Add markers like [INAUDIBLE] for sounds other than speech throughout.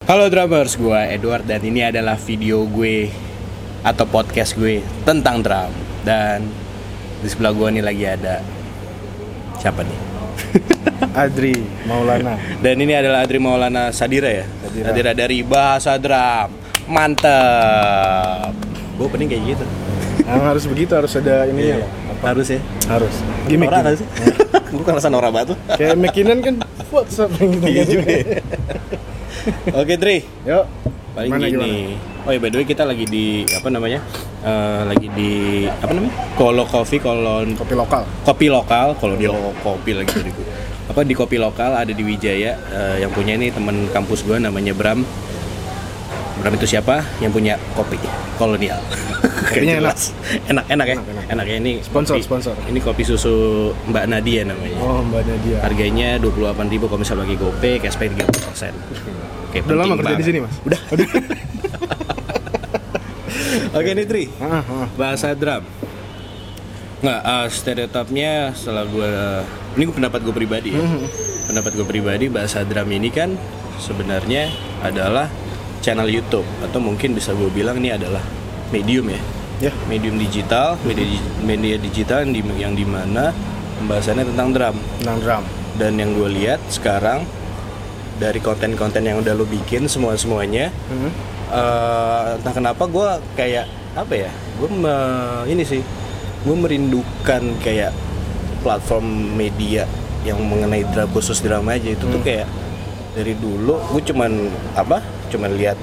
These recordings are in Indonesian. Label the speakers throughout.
Speaker 1: Halo drummers, gue Edward dan ini adalah video gue atau podcast gue tentang drum dan di sebelah gue nih lagi ada siapa nih?
Speaker 2: Adri Maulana.
Speaker 1: Dan ini adalah Adri Maulana Sadira ya?
Speaker 2: Sadira.
Speaker 1: Sadira dari Bahasa Drum Mantep Gue pening kayak gitu
Speaker 2: Emang harus begitu harus ada ini ya.
Speaker 1: Harus ya?
Speaker 2: Harus.
Speaker 1: Gimik
Speaker 2: Gimik.
Speaker 1: Orang kan sih? Gue kan rasa norak banget tuh
Speaker 2: Kayak McKinnon kan WhatsApp gitu.
Speaker 1: Iya juga ya. Oke Dri,
Speaker 2: Yuk.
Speaker 1: paling
Speaker 2: Mana,
Speaker 1: gini oh ya by the way kita lagi di apa namanya Eh, lagi di apa namanya kalau kopi kalau
Speaker 2: Kopi lokal.
Speaker 1: kopi lokal kalau dia lo- kopi lagi dari gue apa di kopi lokal ada di Wijaya eh, yang punya ini teman kampus gue namanya Bram Bram itu siapa yang punya kopi kolonial [LAUGHS]
Speaker 2: Kopinya
Speaker 1: Kayak
Speaker 2: enak.
Speaker 1: jelas. enak enak ya
Speaker 2: Enak, enak.
Speaker 1: enak ya ini
Speaker 2: Sponsor,
Speaker 1: kopi-
Speaker 2: sponsor.
Speaker 1: ini kopi susu Mbak Nadia namanya
Speaker 2: Oh, Mbak Nadia.
Speaker 1: harganya 28.000 kalau misalnya bagi GoPay cashback 30% Oke,
Speaker 2: Udah lama
Speaker 1: penting
Speaker 2: kerja di
Speaker 1: banget.
Speaker 2: sini, Mas? [LAUGHS] Udah.
Speaker 1: Oke nih Tri,
Speaker 2: Ah,
Speaker 1: bahasa drum. Nggak, eh, stereotipnya setelah gue, ini gua- pendapat gue pribadi ya. Pendapat gue pribadi bahasa drum ini kan sebenarnya adalah channel YouTube atau mungkin bisa gue bilang ini adalah medium ya,
Speaker 2: Ya.
Speaker 1: medium digital, media, di- media digital yang, di- yang dimana pembahasannya tentang drum.
Speaker 2: Tenang drum.
Speaker 1: Dan yang gue lihat sekarang dari konten-konten yang udah lo bikin semua semuanya eh entah kenapa gue kayak apa ya gue ini sih gue merindukan kayak platform media yang mengenai drama khusus drama aja itu tuh kayak dari dulu gue cuman apa cuman lihat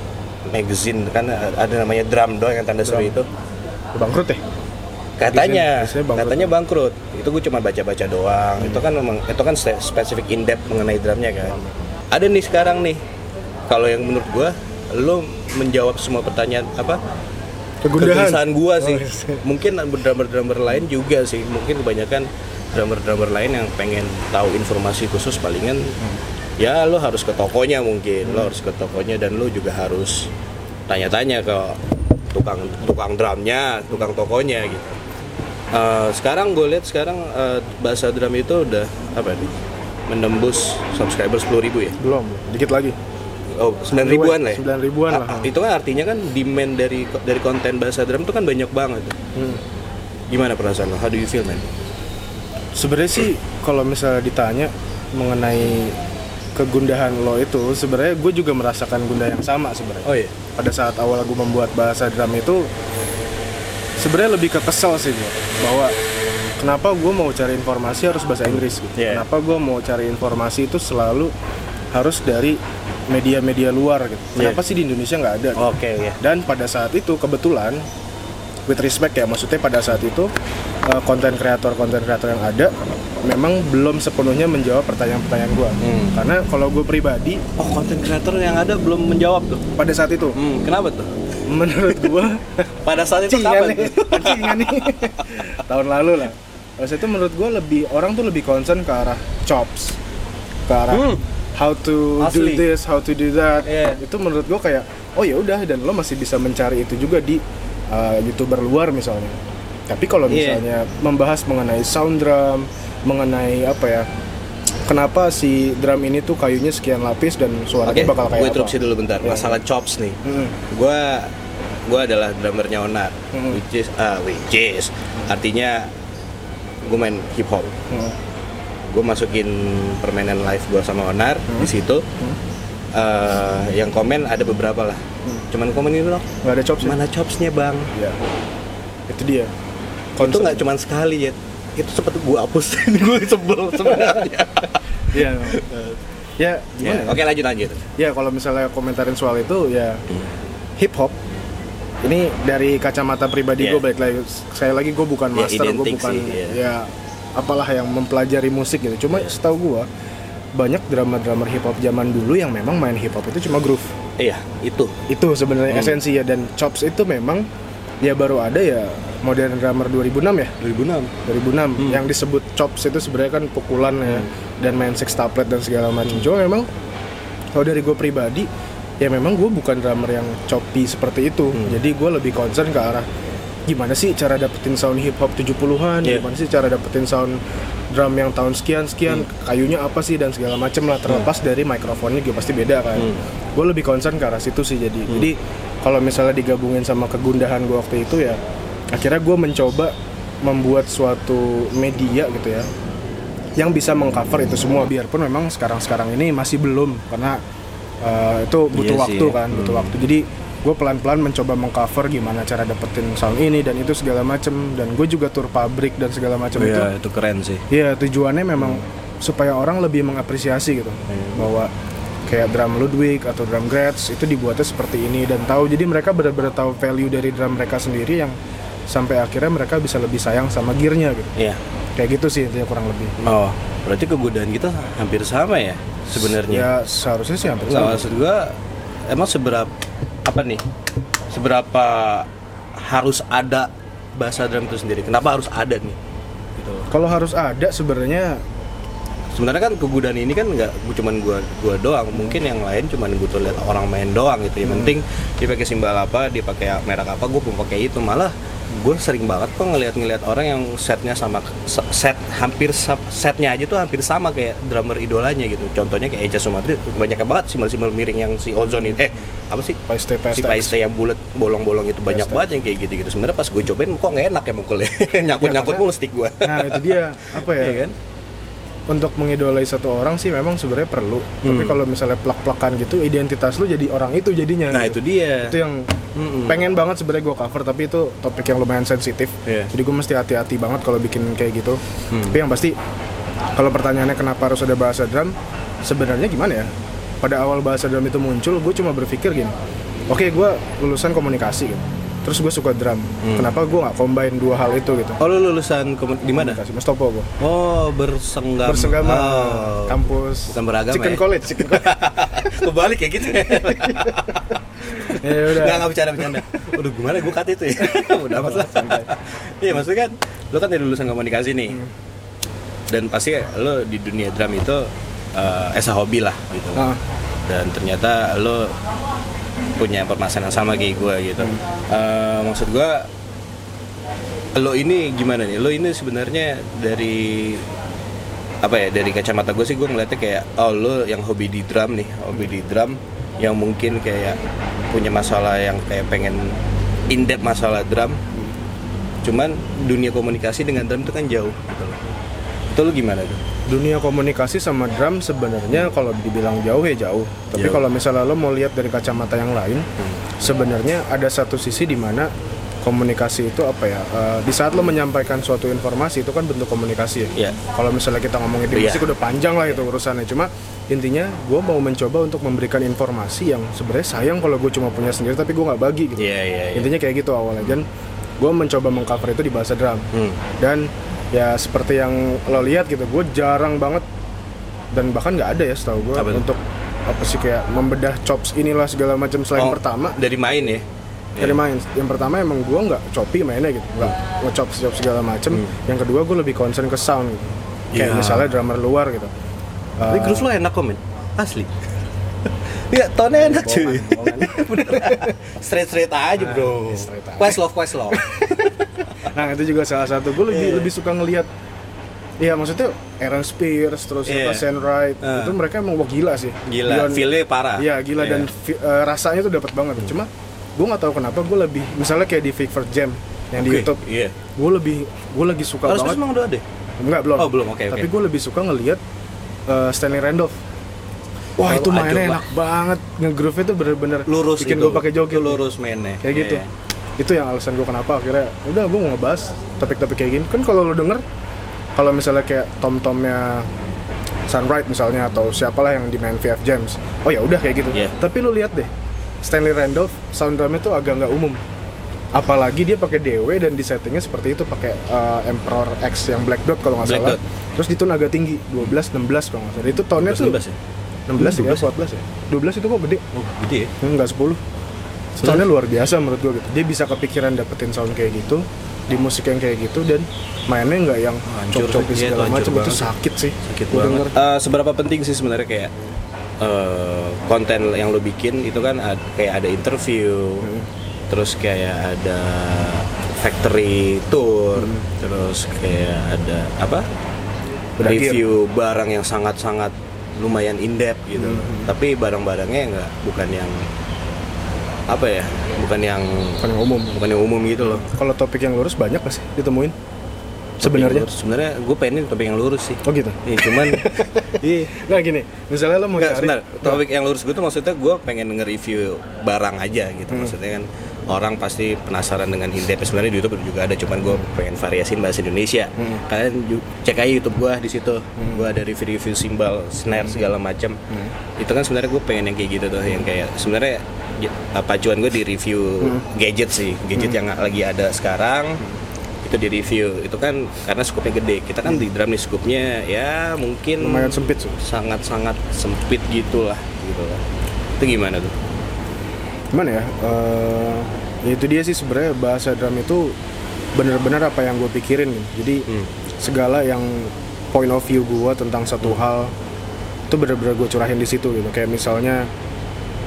Speaker 1: magazine kan ada namanya drum doang yang tanda seru itu
Speaker 2: Udah Bangkrut ya?
Speaker 1: katanya
Speaker 2: Biasanya- biasanya bangkrut.
Speaker 1: katanya bangkrut itu gue cuma baca-baca doang itu kan memang itu kan spe- spesifik in depth mengenai drumnya kan ada nih sekarang nih kalau yang menurut gue lo menjawab semua pertanyaan apa
Speaker 2: Kegundahan.
Speaker 1: kegelisahan gue sih
Speaker 2: Oh, yes.
Speaker 1: mungkin drummer-drummer lain juga sih mungkin kebanyakan drummer-drummer lain yang pengen tahu informasi khusus palingan
Speaker 2: Hmm.
Speaker 1: ya lo harus ke tokonya mungkin lo harus ke tokonya dan lo juga harus tanya-tanya ke tukang tukang drumnya tukang tokonya gitu Eh, sekarang gue lihat sekarang eh, bahasa drum itu udah apa nih menembus subscriber 10.000 ya
Speaker 2: Belum. Dikit lagi.
Speaker 1: oh 9 ribuan lah ya?
Speaker 2: 9 ribuan lah.
Speaker 1: Ah, itu kan artinya kan demand dari dari konten bahasa drum itu kan banyak banget
Speaker 2: Hmm.
Speaker 1: gimana perasaan lo how do you feel man
Speaker 2: Sebenarnya sih kalau misalnya ditanya mengenai kegundahan lo itu sebenarnya gue juga merasakan gundah yang sama sebenarnya.
Speaker 1: oh iya
Speaker 2: pada saat awal gue membuat bahasa drum itu sebenarnya lebih ke kesel sih gue bahwa kenapa gue mau cari informasi harus bahasa Inggris gitu.
Speaker 1: Yeah.
Speaker 2: Kenapa gue mau cari informasi itu selalu harus dari media-media luar gitu.
Speaker 1: Yeah.
Speaker 2: Kenapa sih di Indonesia nggak ada? gitu.
Speaker 1: oke ya
Speaker 2: Dan pada saat itu kebetulan with respect ya maksudnya pada saat itu eh, konten kreator konten kreator yang ada memang belum sepenuhnya menjawab pertanyaan-pertanyaan gue.
Speaker 1: Hmm.
Speaker 2: Karena kalau gue pribadi
Speaker 1: oh konten kreator yang ada belum menjawab tuh
Speaker 2: pada saat itu
Speaker 1: hmm, kenapa tuh
Speaker 2: menurut gue
Speaker 1: pada saat itu
Speaker 2: Pancingan
Speaker 1: kapan
Speaker 2: Iya, nih,
Speaker 1: tuh?
Speaker 2: pancingan nih. Tahun lalu lah. Terus itu menurut gue lebih orang tuh lebih concern ke arah chops, ke arah
Speaker 1: Hmm.
Speaker 2: how to
Speaker 1: Asli.
Speaker 2: do this, how to do that.
Speaker 1: Iya.
Speaker 2: Itu menurut gue kayak oh ya udah dan lo masih bisa mencari itu juga di uh, youtuber luar misalnya. Tapi kalau
Speaker 1: Iya.
Speaker 2: misalnya membahas mengenai sound drum, mengenai apa ya? Kenapa si drum ini tuh kayunya sekian lapis dan
Speaker 1: oke
Speaker 2: suaranya bakal kayak
Speaker 1: gue
Speaker 2: apa?
Speaker 1: interupsi dulu bentar
Speaker 2: Iya.
Speaker 1: masalah chops nih
Speaker 2: Mm-mm.
Speaker 1: gue gue adalah drummernya Onar
Speaker 2: Hmm.
Speaker 1: which is ah which is artinya gue main hip hop
Speaker 2: Hmm.
Speaker 1: gue masukin permainan live gue sama Onar di situ Eh, yang komen ada beberapa lah cuman komen ini loh
Speaker 2: Nggak ada chops ya?
Speaker 1: mana chopsnya bang
Speaker 2: Ya. Itu dia.
Speaker 1: itu nggak cuman sekali ya itu sempet gue hapus [LAUGHS] gue sebel sebenarnya [LAUGHS]
Speaker 2: Iya. ya, gimana
Speaker 1: Ya,
Speaker 2: ya?
Speaker 1: oke lanjut lanjut
Speaker 2: Ya, kalau misalnya komentarin soal itu ya
Speaker 1: Iya.
Speaker 2: hip hop ini dari kacamata pribadi
Speaker 1: Iya.
Speaker 2: gue baik lagi saya lagi gue
Speaker 1: Ya,
Speaker 2: bukan master gue
Speaker 1: identik
Speaker 2: bukan
Speaker 1: sih, iya.
Speaker 2: ya apalah yang mempelajari musik gitu cuma setahu gue banyak drama-drama hip hop zaman dulu yang memang main hip hop itu cuma groove
Speaker 1: iya itu
Speaker 2: itu
Speaker 1: Hmm.
Speaker 2: sebenarnya esensi ya dan chops itu memang ya baru ada ya modern drummer 2006 ya
Speaker 1: 2006
Speaker 2: 2006 yang disebut chops itu sebenarnya kan pukulan ya dan main sextuplet dan segala macam. Cuma memang kalau dari gue pribadi ya memang gue bukan drummer yang choppy seperti itu. Jadi gue lebih concern ke arah gimana sih cara dapetin sound hip hop 70-an,
Speaker 1: Iya.
Speaker 2: gimana sih cara dapetin sound drum yang tahun sekian sekian, kayunya apa sih dan segala macem lah terlepas dari mikrofonnya juga pasti beda kan. Gue lebih concern ke arah situ sih jadi. Jadi kalau misalnya digabungin sama kegundahan gue waktu itu ya, akhirnya gue mencoba membuat suatu media gitu ya yang bisa mengcover itu semua biarpun memang sekarang-sekarang ini masih belum karena uh, itu butuh
Speaker 1: Iya sih.
Speaker 2: waktu kan butuh waktu jadi gue pelan-pelan mencoba mengcover gimana cara dapetin sound ini dan itu segala macem dan gue juga tur pabrik dan segala macem itu
Speaker 1: Iya, itu keren sih.
Speaker 2: ya tujuannya memang supaya orang lebih mengapresiasi gitu
Speaker 1: Iya.
Speaker 2: bahwa kayak drum Ludwig atau drum Gretsch itu dibuatnya seperti ini dan tahu jadi mereka benar-benar tahu value dari drum mereka sendiri yang sampai akhirnya mereka bisa lebih sayang sama gearnya gitu
Speaker 1: Iya.
Speaker 2: kayak gitu sih intinya kurang lebih
Speaker 1: Oh, berarti kegundahan kita hampir sama ya sebenarnya.
Speaker 2: Ya seharusnya sih hampir
Speaker 1: Nggak
Speaker 2: sama.
Speaker 1: maksud gua emang seberapa apa nih? Seberapa harus ada bahasa drum itu sendiri? Kenapa harus ada nih? Gitu.
Speaker 2: Kalau harus ada sebenarnya
Speaker 1: Sebenarnya kan kegundahan ini kan nggak bu- cuman gua gua doang,
Speaker 2: Hmm.
Speaker 1: mungkin yang lain cuman butuh lihat orang main doang gitu. Yang penting dia pakai simbal apa, dia pakai merek apa, gua pun pakai itu. Malah gue sering banget kok ngeliat-ngeliat orang yang setnya sama se- set hampir sa- setnya aja tuh hampir sama kayak drummer idolanya gitu contohnya kayak Eja Sumatri banyak banget simbol-simbol miring yang si Ozone itu eh apa sih
Speaker 2: paste
Speaker 1: si
Speaker 2: paste.
Speaker 1: paiste yang bulat bolong-bolong itu banyak
Speaker 2: Pasta.
Speaker 1: banget yang kayak gitu-gitu sebenarnya pas gue cobain kok nggak enak ya mukulnya [LAUGHS] nyangkut-nyangkut
Speaker 2: Iya, karena-
Speaker 1: mulu stick gue
Speaker 2: Nah itu dia apa ya?
Speaker 1: [LAUGHS] Iya kan?
Speaker 2: Untuk mengidolai satu orang sih memang sebenarnya perlu. Tapi
Speaker 1: Hmm.
Speaker 2: kalau misalnya plak-plakan gitu identitas lu jadi orang itu jadinya.
Speaker 1: nah itu
Speaker 2: gitu.
Speaker 1: dia
Speaker 2: Itu yang
Speaker 1: Mm-mm.
Speaker 2: pengen banget sebenarnya gue cover tapi itu topik yang lumayan sensitif.
Speaker 1: Iya. Hmm.
Speaker 2: Jadi gue mesti hati-hati banget kalau bikin kayak gitu. Tapi yang pasti kalau pertanyaannya kenapa harus ada bahasa drum, sebenarnya gimana ya? Pada awal bahasa drum itu muncul, gue cuma berpikir gini. Oke, gue lulusan komunikasi gitu. Terus gue suka drum.
Speaker 1: Hmm.
Speaker 2: Kenapa gue nggak combine dua hal itu gitu?
Speaker 1: Oh lu lulusan komun- di mana?
Speaker 2: Komunikasi, Mustopo gue.
Speaker 1: Oh bersenggama.
Speaker 2: Bersenggama,
Speaker 1: Oh.
Speaker 2: kampus.
Speaker 1: Bukan beragama ya?
Speaker 2: Chicken College, Chicken College.
Speaker 1: [LAUGHS] Kebalik ya gitu.
Speaker 2: ya udah.
Speaker 1: Nggak nggak bercanda bercanda. Waduh gimana gue cut itu ya. [LAUGHS] Udah amat lah. Iya maksudnya kan lu kan dari lulusan komunikasi nih.
Speaker 2: Hmm.
Speaker 1: Dan pasti lu di dunia drum itu eh, esa hobi lah gitu.
Speaker 2: Ah.
Speaker 1: Dan ternyata lu punya permasalahan yang sama kayak gue gitu. Eh, maksud gue lo ini gimana nih lo ini sebenarnya dari apa ya dari kacamata gue sih gue ngeliatnya kayak oh lo yang hobi di drum nih hobi di drum yang mungkin kayak punya masalah yang kayak pengen in depth masalah drum cuman dunia komunikasi dengan drum itu kan jauh gitu loh itu lo gimana tuh
Speaker 2: Dunia komunikasi sama drum sebenarnya kalau dibilang jauh ya jauh. Tapi
Speaker 1: Jauh.
Speaker 2: kalau misalnya lo mau lihat dari kacamata yang lain,
Speaker 1: Hmm.
Speaker 2: sebenarnya ada satu sisi di mana komunikasi itu apa ya? eh, di saat lo menyampaikan suatu informasi itu kan bentuk komunikasi ya.
Speaker 1: Iya.
Speaker 2: Kalau misalnya kita ngomongin di
Speaker 1: Iya.
Speaker 2: musik udah panjang lah itu urusannya. Cuma intinya gue mau mencoba untuk memberikan informasi yang sebenarnya sayang kalau gue cuma punya sendiri tapi gue nggak bagi gitu.
Speaker 1: iya iya
Speaker 2: intinya kayak gitu awalnya dan gue mencoba mengcover itu di bahasa drum
Speaker 1: Hmm.
Speaker 2: dan ya seperti yang lo lihat gitu gue jarang banget dan bahkan nggak ada ya setahu gue
Speaker 1: Apa tuh?
Speaker 2: untuk apa sih kayak membedah chops inilah segala macam selain
Speaker 1: Oh,
Speaker 2: pertama
Speaker 1: dari main ya
Speaker 2: dari main yang pertama emang gue nggak choppy mainnya gitu nggak
Speaker 1: Hmm.
Speaker 2: ngechop chop segala macam yang kedua gue lebih concern ke sound gitu. kayak
Speaker 1: Iya.
Speaker 2: misalnya drummer luar gitu
Speaker 1: tapi grooves lo enak komen asli [LAUGHS] Iya, tone enak cuy.
Speaker 2: Oh,
Speaker 1: straight straight aja bro.
Speaker 2: Ah, iya, straight aja.
Speaker 1: Questlove, Questlove.
Speaker 2: nah itu juga salah satu gue lebih lebih suka ngelihat Iya maksudnya Aaron Spears terus
Speaker 1: Iya.
Speaker 2: apa Sam Wright
Speaker 1: Ah.
Speaker 2: itu mereka emang wah gila sih
Speaker 1: Gila,
Speaker 2: Beyond-
Speaker 1: feel-nya parah.
Speaker 2: Iya gila dan fi- eh, rasanya tuh dapat banget cuma gue nggak tahu kenapa gue lebih misalnya kayak di Fake for Jam yang di
Speaker 1: Oke,
Speaker 2: YouTube
Speaker 1: Iya.
Speaker 2: gue lebih gue lagi suka
Speaker 1: Harus
Speaker 2: banget
Speaker 1: terus emang udah ada.
Speaker 2: Enggak belum.
Speaker 1: Oh, belum, oke,
Speaker 2: Tapi
Speaker 1: oke.
Speaker 2: gue lebih suka ngelihat eh, Stanley Randolph. Wah
Speaker 1: Kalau
Speaker 2: itu mainnya
Speaker 1: Oh, aduh,
Speaker 2: enak banget, ngegroove itu bener-bener
Speaker 1: Lurus
Speaker 2: bikin
Speaker 1: gitu.
Speaker 2: gue pakai joget.
Speaker 1: Lurus mainnya.
Speaker 2: Kayak
Speaker 1: Iya,
Speaker 2: gitu.
Speaker 1: iya.
Speaker 2: Itu yang alasan gue kenapa akhirnya udah gue mau ngebahas topik-topik kayak gini. Kan kalau lo denger kalau misalnya kayak tom-tomnya Sunrise misalnya atau siapalah yang dimain VF James. Oh ya udah kayak gitu.
Speaker 1: Iya.
Speaker 2: Tapi lu lihat deh, Stanley Randolph sound drumnya tuh agak nggak umum. Apalagi dia pakai DW dan di settingnya seperti itu pakai eh, Emperor X yang Black Dot kalau nggak
Speaker 1: Black
Speaker 2: salah.
Speaker 1: Dot.
Speaker 2: Terus di tone agak tinggi, 12 16 kalau nggak salah. Itu tone-nya
Speaker 1: Terus
Speaker 2: tuh
Speaker 1: 16 ya?
Speaker 2: 16 ya, 14 ya. 12 itu kok gede.
Speaker 1: Oh, gitu ya.
Speaker 2: Enggak 10 Soalnya luar biasa menurut gua gitu Dia bisa kepikiran dapetin sound kayak gitu Di musik yang kayak gitu Dan mainnya nggak yang
Speaker 1: Ah. Hancur
Speaker 2: cop-copi
Speaker 1: sih, iya,
Speaker 2: segala
Speaker 1: hancur
Speaker 2: macam Itu
Speaker 1: banget.
Speaker 2: sakit sih
Speaker 1: Sakit
Speaker 2: Gua
Speaker 1: banget.
Speaker 2: denger.
Speaker 1: Eh, seberapa penting sih sebenarnya kayak eh, konten yang
Speaker 2: Hmm.
Speaker 1: lo bikin itu kan ad- kayak ada interview, terus kayak ada factory tour
Speaker 2: Hmm.
Speaker 1: terus kayak ada apa
Speaker 2: Berakhir.
Speaker 1: review barang yang sangat-sangat lumayan in depth gitu
Speaker 2: Hmm.
Speaker 1: tapi barang-barangnya nggak bukan yang apa ya bukan yang
Speaker 2: Bukan yang umum.
Speaker 1: bukan yang umum gitu loh
Speaker 2: Kalau topik yang lurus banyak gak sih ditemuin?
Speaker 1: Topik yang
Speaker 2: Sebenarnya?
Speaker 1: lurus. sebenarnya gue pengen topik yang lurus sih
Speaker 2: Oh gitu.
Speaker 1: Iya, cuman
Speaker 2: [LAUGHS]
Speaker 1: iya
Speaker 2: Nah gini, misalnya lo mau
Speaker 1: Enggak, sebentar.
Speaker 2: cari
Speaker 1: Topik yang lurus gue tuh maksudnya gue pengen nge-review barang aja gitu.
Speaker 2: Hmm.
Speaker 1: Maksudnya kan orang pasti penasaran dengan indep sebenarnya di YouTube juga ada cuman gue pengen variasiin bahasa Indonesia
Speaker 2: Hmm.
Speaker 1: kalian ju- cek aja YouTube gue di situ gue ada review-review simbal
Speaker 2: Hmm.
Speaker 1: snare segala macam itu kan sebenarnya gue pengen yang kayak gitu tuh yang kayak sebenarnya ya, pacuan gue di review
Speaker 2: Hmm.
Speaker 1: gadget sih gadget yang lagi ada sekarang itu di review itu kan karena scoopnya gede kita kan di drum nih scoopnya ya mungkin
Speaker 2: Hmm. lumayan sempit sih.
Speaker 1: sangat-sangat sempit gitulah gitu lah. Itu gimana tuh?
Speaker 2: Gimana ya? Eh, ya itu dia sih sebenarnya bahasa drum itu bener-bener apa yang gue pikirin gitu. Jadi segala yang point of view gue tentang satu hal itu bener-bener gue curahin di situ gitu. Kayak misalnya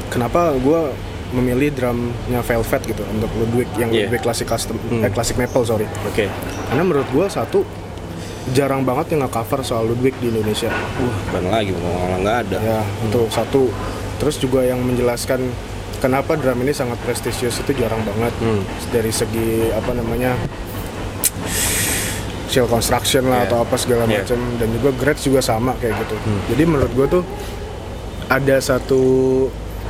Speaker 2: kenapa gue memilih drumnya Velvet gitu untuk Ludwig yang
Speaker 1: Iya.
Speaker 2: Ludwig Classic Custom, eh, Classic Maple sorry.
Speaker 1: Oke.
Speaker 2: Karena menurut gue satu jarang banget yang nge-cover soal Ludwig di Indonesia.
Speaker 1: Bukan lagi orang nggak ada.
Speaker 2: Ya, itu satu. Terus juga yang menjelaskan kenapa drum ini sangat prestisius itu jarang banget
Speaker 1: Hmm.
Speaker 2: dari segi apa namanya shell construction
Speaker 1: Yeah.
Speaker 2: lah atau apa segala
Speaker 1: Yeah. Hmm.
Speaker 2: macam dan juga grades juga sama kayak gitu. Jadi menurut gue tuh ada satu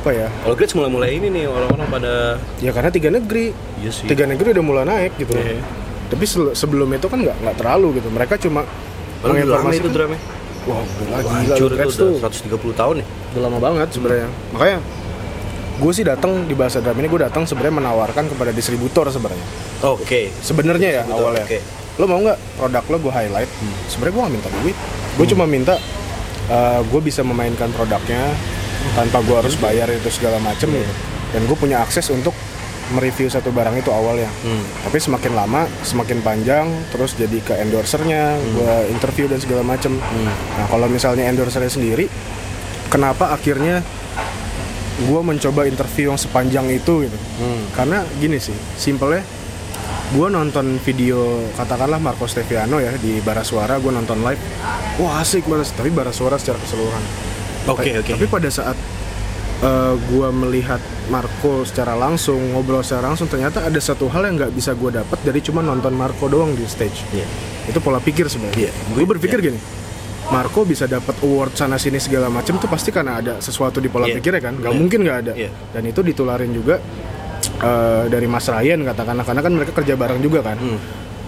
Speaker 2: apa ya?
Speaker 1: All grades mulai-mulai ini nih orang-orang pada
Speaker 2: Ya karena tiga negeri,
Speaker 1: Iya sih.
Speaker 2: tiga negeri udah mulai naik gitu.
Speaker 1: Iya.
Speaker 2: Tapi se- sebelum itu kan nggak nggak terlalu gitu. Mereka cuma
Speaker 1: Baru drama itu
Speaker 2: menginformasikan-
Speaker 1: drama.
Speaker 2: Wah, gila, gila,
Speaker 1: Hancur
Speaker 2: grades
Speaker 1: itu
Speaker 2: tuh
Speaker 1: udah 130 tahun ya.
Speaker 2: udah lama banget sebenarnya Hmm. makanya gue sih datang di bahasa drum ini gue datang sebenarnya menawarkan kepada distributor sebenarnya
Speaker 1: Oke.
Speaker 2: sebenarnya ya
Speaker 1: Distributor,
Speaker 2: awalnya
Speaker 1: oke.
Speaker 2: lo mau nggak produk lo gue highlight sebenarnya gue nggak minta duit gue cuma minta gue bisa memainkan produknya tanpa gue harus bayar itu segala macem gitu. dan gue punya akses untuk mereview satu barang itu awalnya tapi semakin lama semakin panjang terus jadi ke endorsernya gue interview dan segala macem nah kalau misalnya endorsernya sendiri kenapa akhirnya gue mencoba interview yang sepanjang itu gitu
Speaker 1: Hmm.
Speaker 2: karena gini sih simpelnya gue nonton video katakanlah Marco Steviano ya di Barasuara gue nonton live wah asik banget tapi Barasuara secara keseluruhan
Speaker 1: Oke,
Speaker 2: Ta-
Speaker 1: oke.
Speaker 2: tapi pada saat gue melihat Marco secara langsung ngobrol secara langsung ternyata ada satu hal yang nggak bisa gue dapat dari cuma nonton Marco doang di stage
Speaker 1: Iya.
Speaker 2: itu pola pikir sebenarnya.
Speaker 1: Iya.
Speaker 2: Gue berpikir gini, Marco bisa dapat award sana sini segala macam tuh pasti karena ada sesuatu di pola
Speaker 1: Iya.
Speaker 2: pikirnya kan, nggak
Speaker 1: Iya.
Speaker 2: mungkin nggak ada.
Speaker 1: Iya.
Speaker 2: Dan itu ditularin juga eh, dari Mas Ryan katakanlah karena kan mereka kerja bareng juga kan.
Speaker 1: Hmm.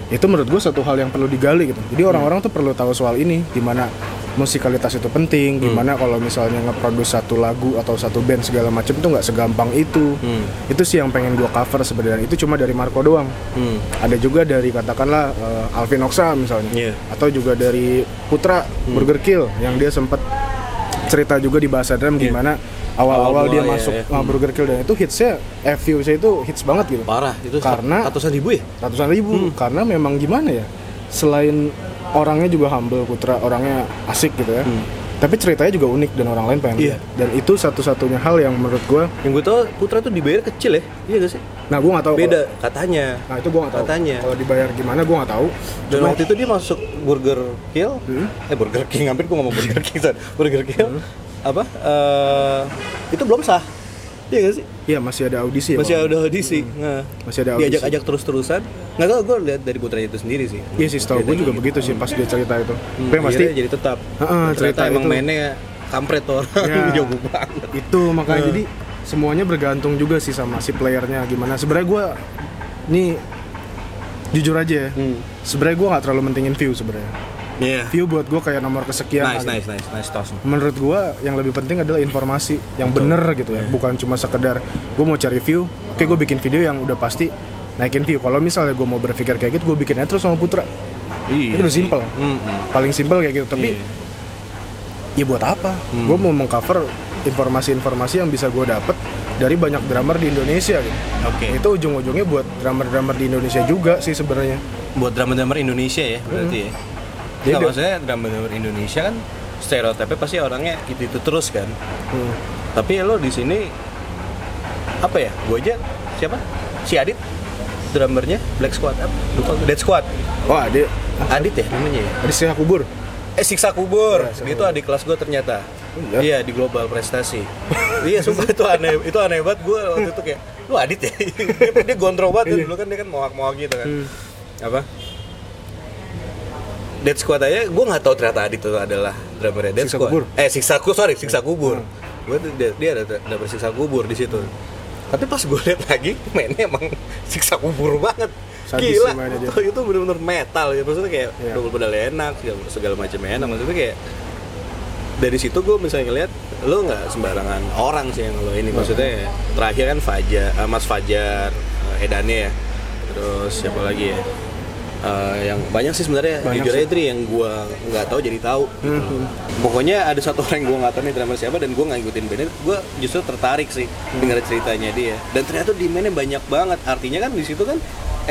Speaker 2: Itu menurut gue satu hal yang perlu digali gitu. Jadi orang-orang tuh perlu tahu soal ini, gimana musikalitas itu penting,
Speaker 1: Hmm.
Speaker 2: gimana kalau misalnya ngeproduce satu lagu atau satu band segala macam tuh nggak segampang itu. Itu sih yang pengen gue cover sebenarnya. Itu cuma dari Marco doang
Speaker 1: Hmm.
Speaker 2: ada juga dari katakanlah eh, Alvin Oksa misalnya
Speaker 1: Iya. Hmm.
Speaker 2: atau juga dari Putra Burger Kill yang dia sempat cerita juga di bahasa drum gimana awal-awal
Speaker 1: Iya. Awal-awal
Speaker 2: dia
Speaker 1: iya,
Speaker 2: masuk
Speaker 1: iya.
Speaker 2: eh, Burger Kill dan itu hitsnya eh, views-nya itu hits banget gitu
Speaker 1: Parah itu
Speaker 2: Karena-
Speaker 1: ratusan ribu ya?
Speaker 2: ratusan ribu karena memang gimana ya selain orangnya juga humble Putra orangnya asik gitu ya tapi ceritanya juga unik dan orang lain pengen
Speaker 1: Hmm. Iya.
Speaker 2: lihat. dan itu satu-satunya hal yang menurut gue
Speaker 1: Yang gue tau Putra tuh dibayar kecil ya? Iya gak sih?
Speaker 2: nah gue nggak tahu kalau-
Speaker 1: Beda katanya.
Speaker 2: nah itu gue nggak tahu
Speaker 1: Katanya.
Speaker 2: kalau dibayar gimana gue nggak tahu
Speaker 1: Dan waktu itu dia masuk Burger Kill,
Speaker 2: Hmm?
Speaker 1: eh Burger King, hampir gue ngomong Burger King, sorry. Burger Kill, apa? eh, itu belum sah, iya gak sih?
Speaker 2: Iya masih ada audisi ya.
Speaker 1: masih
Speaker 2: Pak?
Speaker 1: ada audisi nah
Speaker 2: Masih ada audisi.
Speaker 1: diajak ajak terus terusan nggak tau gue lihat dari putranya itu sendiri sih
Speaker 2: Iya sih, setahu gue juga begitu sih pas dia cerita itu.
Speaker 1: Hmm,
Speaker 2: Tapi yang pasti
Speaker 1: pasti jadi tetap
Speaker 2: Heeh,
Speaker 1: Ternyata
Speaker 2: cerita
Speaker 1: emang
Speaker 2: itu.
Speaker 1: mainnya kampret tuh orang [LAUGHS]
Speaker 2: Ya.
Speaker 1: jago banget
Speaker 2: itu makanya jadi semuanya bergantung juga sih sama si playernya gimana. Sebenarnya gue nih jujur aja ya. Sebenarnya gue nggak terlalu mentingin view sebenarnya.
Speaker 1: iya
Speaker 2: View buat gue kayak nomor kesekian.
Speaker 1: nice
Speaker 2: kali.
Speaker 1: nice nice nice toss
Speaker 2: Menurut gue yang lebih penting adalah informasi yang bener gitu ya. Bukan cuma sekedar gue mau cari view. Oke gue bikin video yang udah pasti naikin view. Kalau misalnya gue mau berpikir kayak gitu, gue bikinnya terus sama Putra.
Speaker 1: iya
Speaker 2: itu udah simple.
Speaker 1: Hmm,
Speaker 2: paling simpel kayak gitu tapi ya buat apa gue mau mengcover informasi-informasi yang bisa gue dapet dari banyak drummer di Indonesia gitu.
Speaker 1: Oke.
Speaker 2: itu ujung-ujungnya buat drummer-drummer di Indonesia juga sih sebenarnya
Speaker 1: buat drama drummer Indonesia ya berarti ya Nggak,
Speaker 2: Jadi dia-
Speaker 1: maksudnya drama drummer Indonesia kan stereotipnya pasti orangnya itu itu terus kan
Speaker 2: Hmm.
Speaker 1: tapi lo di sini apa ya gue aja siapa si Adit drummernya Black Squad apa? Lupa gue. Dead Squad.
Speaker 2: Oh, adik.
Speaker 1: Adit ya namanya ya.
Speaker 2: Adik saya kubur.
Speaker 1: Eh siksa kubur.
Speaker 2: Ya, siksa
Speaker 1: Dia itu adik kelas gue ternyata.
Speaker 2: iya?
Speaker 1: Iya di global
Speaker 2: [LAUGHS]
Speaker 1: prestasi. iya sumpah itu aneh itu aneh banget gue waktu itu kayak lu adit ya. [LAUGHS] dia, dia gondrong banget
Speaker 2: Iya.
Speaker 1: dulu kan dia kan mohak-mohak gitu kan.
Speaker 2: Hmm.
Speaker 1: Apa? Dead Squad aja, gue nggak tahu ternyata Adit itu adalah drummer Dead
Speaker 2: Siksa
Speaker 1: Squad.
Speaker 2: kubur. Hmm.
Speaker 1: Eh, siksa kubur, sorry, siksa kubur. Gue tuh dia, dia ada drummer siksa kubur di situ. Tapi pas gue lihat lagi, mainnya emang [LAUGHS] siksa kubur banget.
Speaker 2: Sadis
Speaker 1: Gila,
Speaker 2: sih mainnya dia.
Speaker 1: itu, itu bener-bener metal ya. Maksudnya kayak
Speaker 2: Iya.
Speaker 1: double pedal enak, segala, segala macamnya enak. Maksudnya kayak dari situ gue misalnya ngeliat lo nggak sembarangan orang sih yang lo ini
Speaker 2: Iya.
Speaker 1: maksudnya terakhir kan Fajar eh, Mas Fajar eh, Edane ya terus siapa lagi ya Eh, yang banyak sih sebenarnya
Speaker 2: Banyak
Speaker 1: jujur
Speaker 2: sih. Hmm.
Speaker 1: aja Tri, yang gue nggak tahu jadi tahu gitu. pokoknya ada satu [LAUGHS] orang yang gue nggak tahu nih drummer siapa dan gue nggak ngikutin bandnya gue justru tertarik sih
Speaker 2: Hmm.
Speaker 1: dengar ceritanya dia dan ternyata di mainnya banyak banget artinya kan di situ kan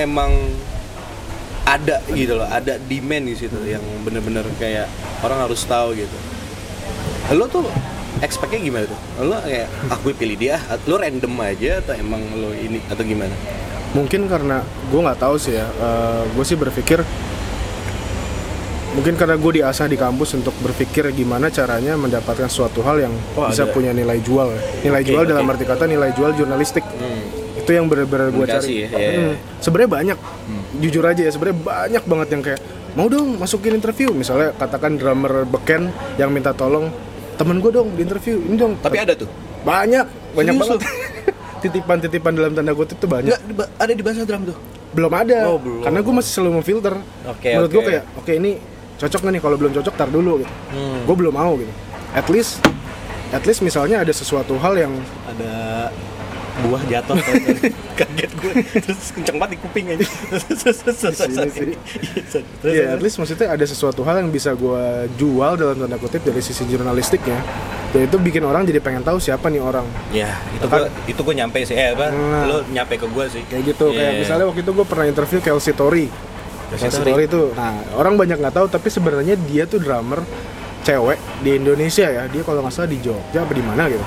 Speaker 1: emang ada gitu loh, ada demand di situ yang bener-bener kayak orang harus tahu gitu. Lo tuh expect-nya gimana tuh? Lo kayak aku pilih dia, lo random aja atau emang lo ini atau gimana?
Speaker 2: Mungkin karena gue nggak tahu sih ya. gue sih berpikir mungkin karena gue diasah di kampus untuk berpikir gimana caranya mendapatkan suatu hal yang
Speaker 1: Oh,
Speaker 2: bisa
Speaker 1: ada.
Speaker 2: punya nilai jual ya. nilai
Speaker 1: Oke,
Speaker 2: jual
Speaker 1: oke. Hmm.
Speaker 2: dalam arti kata nilai jual jurnalistik itu yang bener-bener gue
Speaker 1: Komunikasi
Speaker 2: cari
Speaker 1: ya, iya,
Speaker 2: Hmm.
Speaker 1: iya. Hmm.
Speaker 2: sebenarnya banyak jujur aja ya sebenarnya banyak banget yang kayak mau dong masukin interview misalnya katakan drummer beken yang minta tolong temen gue dong di interview ini dong
Speaker 1: Tapi ada tuh.
Speaker 2: banyak banyak
Speaker 1: Serius
Speaker 2: banget [LAUGHS] titipan-titipan dalam tanda kutip tuh banyak
Speaker 1: Enggak ada di bahasa drum tuh.
Speaker 2: belum ada
Speaker 1: Oh, belum.
Speaker 2: karena gue masih selalu memfilter
Speaker 1: Oke,
Speaker 2: menurut gue
Speaker 1: oke.
Speaker 2: kayak oke ini cocok nggak nih kalau belum cocok tar dulu gitu
Speaker 1: Hmm.
Speaker 2: gue belum mau gitu at least at least misalnya ada sesuatu hal yang
Speaker 1: Ada buah jatuh [LAUGHS] kaget gue terus kenceng banget di Iya. kuping aja terus terus terus
Speaker 2: Di sini sih.
Speaker 1: terus
Speaker 2: ya at least maksudnya ada sesuatu hal yang bisa gue jual dalam tanda kutip dari sisi jurnalistiknya dan itu bikin orang jadi pengen tahu siapa nih orang
Speaker 1: ya itu gue itu gue nyampe sih eh apa
Speaker 2: Hmm.
Speaker 1: lo nyampe ke gue sih
Speaker 2: kayak gitu kayak
Speaker 1: Iya.
Speaker 2: misalnya waktu itu gue pernah interview Kelsey Tori
Speaker 1: Kelsey
Speaker 2: Kelsey
Speaker 1: Tori.
Speaker 2: Tori itu nah orang banyak nggak tahu tapi sebenarnya dia tuh drummer cewek di Indonesia ya dia kalau nggak salah di Jogja apa di mana gitu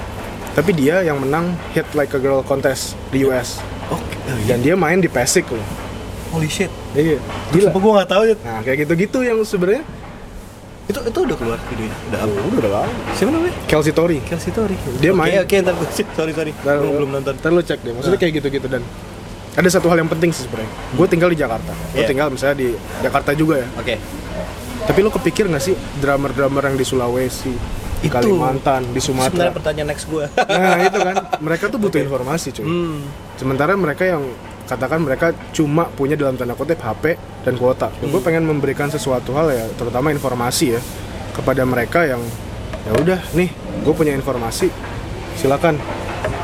Speaker 2: tapi dia yang menang hit like a girl contest di US
Speaker 1: oke oh, iya.
Speaker 2: dan dia main di Pasik loh
Speaker 1: holy shit
Speaker 2: iya
Speaker 1: Gila.
Speaker 2: gila
Speaker 1: gue gak tau ya.
Speaker 2: nah kayak gitu-gitu yang sebenarnya
Speaker 1: Itu itu udah keluar videonya. Udah up.
Speaker 2: udah lama
Speaker 1: Siapa namanya?
Speaker 2: Kelsey Tori
Speaker 1: Kelsey Tori.
Speaker 2: Dia
Speaker 1: Oke,
Speaker 2: main.
Speaker 1: Oke, ntar gue [LAUGHS] sorry sorry.
Speaker 2: Ntar
Speaker 1: Gue
Speaker 2: lu-
Speaker 1: belum nonton. Nah.
Speaker 2: Ntar lu cek deh. Maksudnya kayak gitu-gitu dan ada satu hal yang penting sih sebenarnya. Gue tinggal di Jakarta. Gue
Speaker 1: Hmm. Iya.
Speaker 2: tinggal misalnya di Jakarta juga ya.
Speaker 1: Oke.
Speaker 2: Tapi lu kepikir nggak sih drummer-drummer yang di Sulawesi, di
Speaker 1: Itu.
Speaker 2: Kalimantan, di Sumatera?
Speaker 1: Sebenarnya pertanyaan next [LAUGHS] gue.
Speaker 2: Nah itu kan. Mereka tuh butuh informasi cuy.
Speaker 1: hmm.
Speaker 2: Sementara mereka yang katakan mereka cuma punya dalam tanda kutip HP dan kuota.
Speaker 1: Hmm.
Speaker 2: Gue pengen memberikan sesuatu hal ya, terutama informasi ya kepada mereka yang ya udah nih gue punya informasi silakan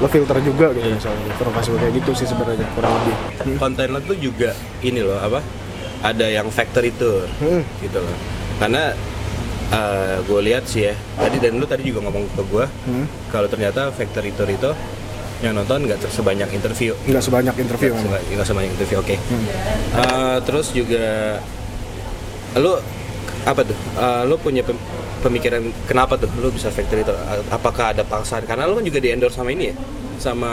Speaker 2: lo filter juga
Speaker 1: Iya.
Speaker 2: gitu misalnya informasi kayak gitu sih sebenarnya kurang lebih
Speaker 1: Konten lo tuh juga ini loh apa? Ada yang factory tour
Speaker 2: Hmm.
Speaker 1: gitu loh. Karena gue lihat sih ya tadi dan lu tadi juga ngomong ke gue kalau ternyata factory tour itu yang nonton nggak sebanyak interview
Speaker 2: nggak sebanyak interview kan. memang.
Speaker 1: Nggak nggak sebanyak interview, oke. Eh, terus juga lu apa tuh? Eh, lu punya pem- pemikiran kenapa tuh lu bisa factory itu? Apakah ada paksaan? Karena lu kan juga di endorse sama ini ya, sama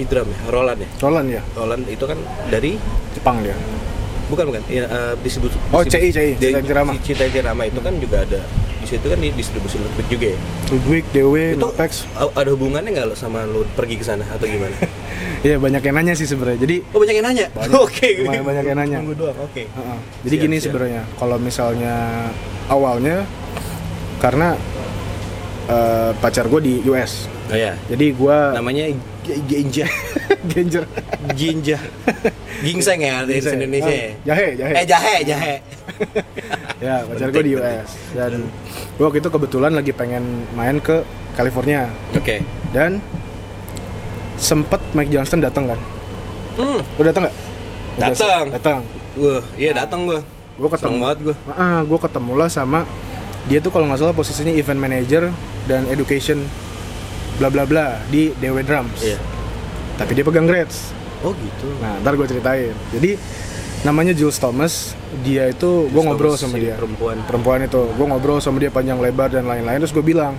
Speaker 1: Vidram ya, Roland ya.
Speaker 2: Solan ya
Speaker 1: Roland itu kan dari
Speaker 2: Jepang dia
Speaker 1: bukan bukan ya, eh, distribusi
Speaker 2: Oh, CI, CI,
Speaker 1: dari
Speaker 2: Cita Irama.
Speaker 1: Cita Irama itu kan juga ada di situ kan di distribusi lutut juga ya.
Speaker 2: Ludwig Dewe
Speaker 1: Itu
Speaker 2: Mapex
Speaker 1: a- ada hubungannya nggak lo sama lu pergi ke sana atau gimana?
Speaker 2: ya banyak yang nanya sih sebenarnya jadi
Speaker 1: [LAUGHS] Oh banyak yang nanya. Oke.
Speaker 2: Lumayan banyak yang nanya.
Speaker 1: Tunggu doang. Oke.
Speaker 2: Heeh. Jadi
Speaker 1: Siap,
Speaker 2: gini
Speaker 1: siap.
Speaker 2: sebenarnya, kalau misalnya awalnya karena eh, pacar gue di US,
Speaker 1: Oh ya.
Speaker 2: jadi gue
Speaker 1: namanya Ginja
Speaker 2: [LAUGHS] Ginger,
Speaker 1: Ginja Gingseng ya di Indonesia ya?
Speaker 2: Ah, jahe, jahe.
Speaker 1: eh jahe jahe
Speaker 2: ya pacar gue di
Speaker 1: Penting, Hmm.
Speaker 2: US dan gue waktu itu kebetulan lagi pengen main ke California
Speaker 1: oke
Speaker 2: dan sempet Mike Johnson datang kan?
Speaker 1: hmm
Speaker 2: Lo datang nggak? Mike Johnson
Speaker 1: Datang.
Speaker 2: Datang.
Speaker 1: wah iya datang gua
Speaker 2: Gue ketemu.
Speaker 1: seneng banget gua
Speaker 2: Ah, gue ketemu lah sama dia tuh kalau nggak salah posisinya event manager dan education bla bla bla di DW Drums.
Speaker 1: iya
Speaker 2: Tapi dia pegang grades.
Speaker 1: oh gitu
Speaker 2: Nah, ntar gue ceritain. Jadi namanya Jules Thomas, dia itu gue
Speaker 1: Jules
Speaker 2: ngobrol
Speaker 1: Thomas,
Speaker 2: sama
Speaker 1: si
Speaker 2: dia
Speaker 1: perempuan.
Speaker 2: perempuan itu, gue ngobrol sama dia panjang lebar dan lain-lain. Terus gue bilang,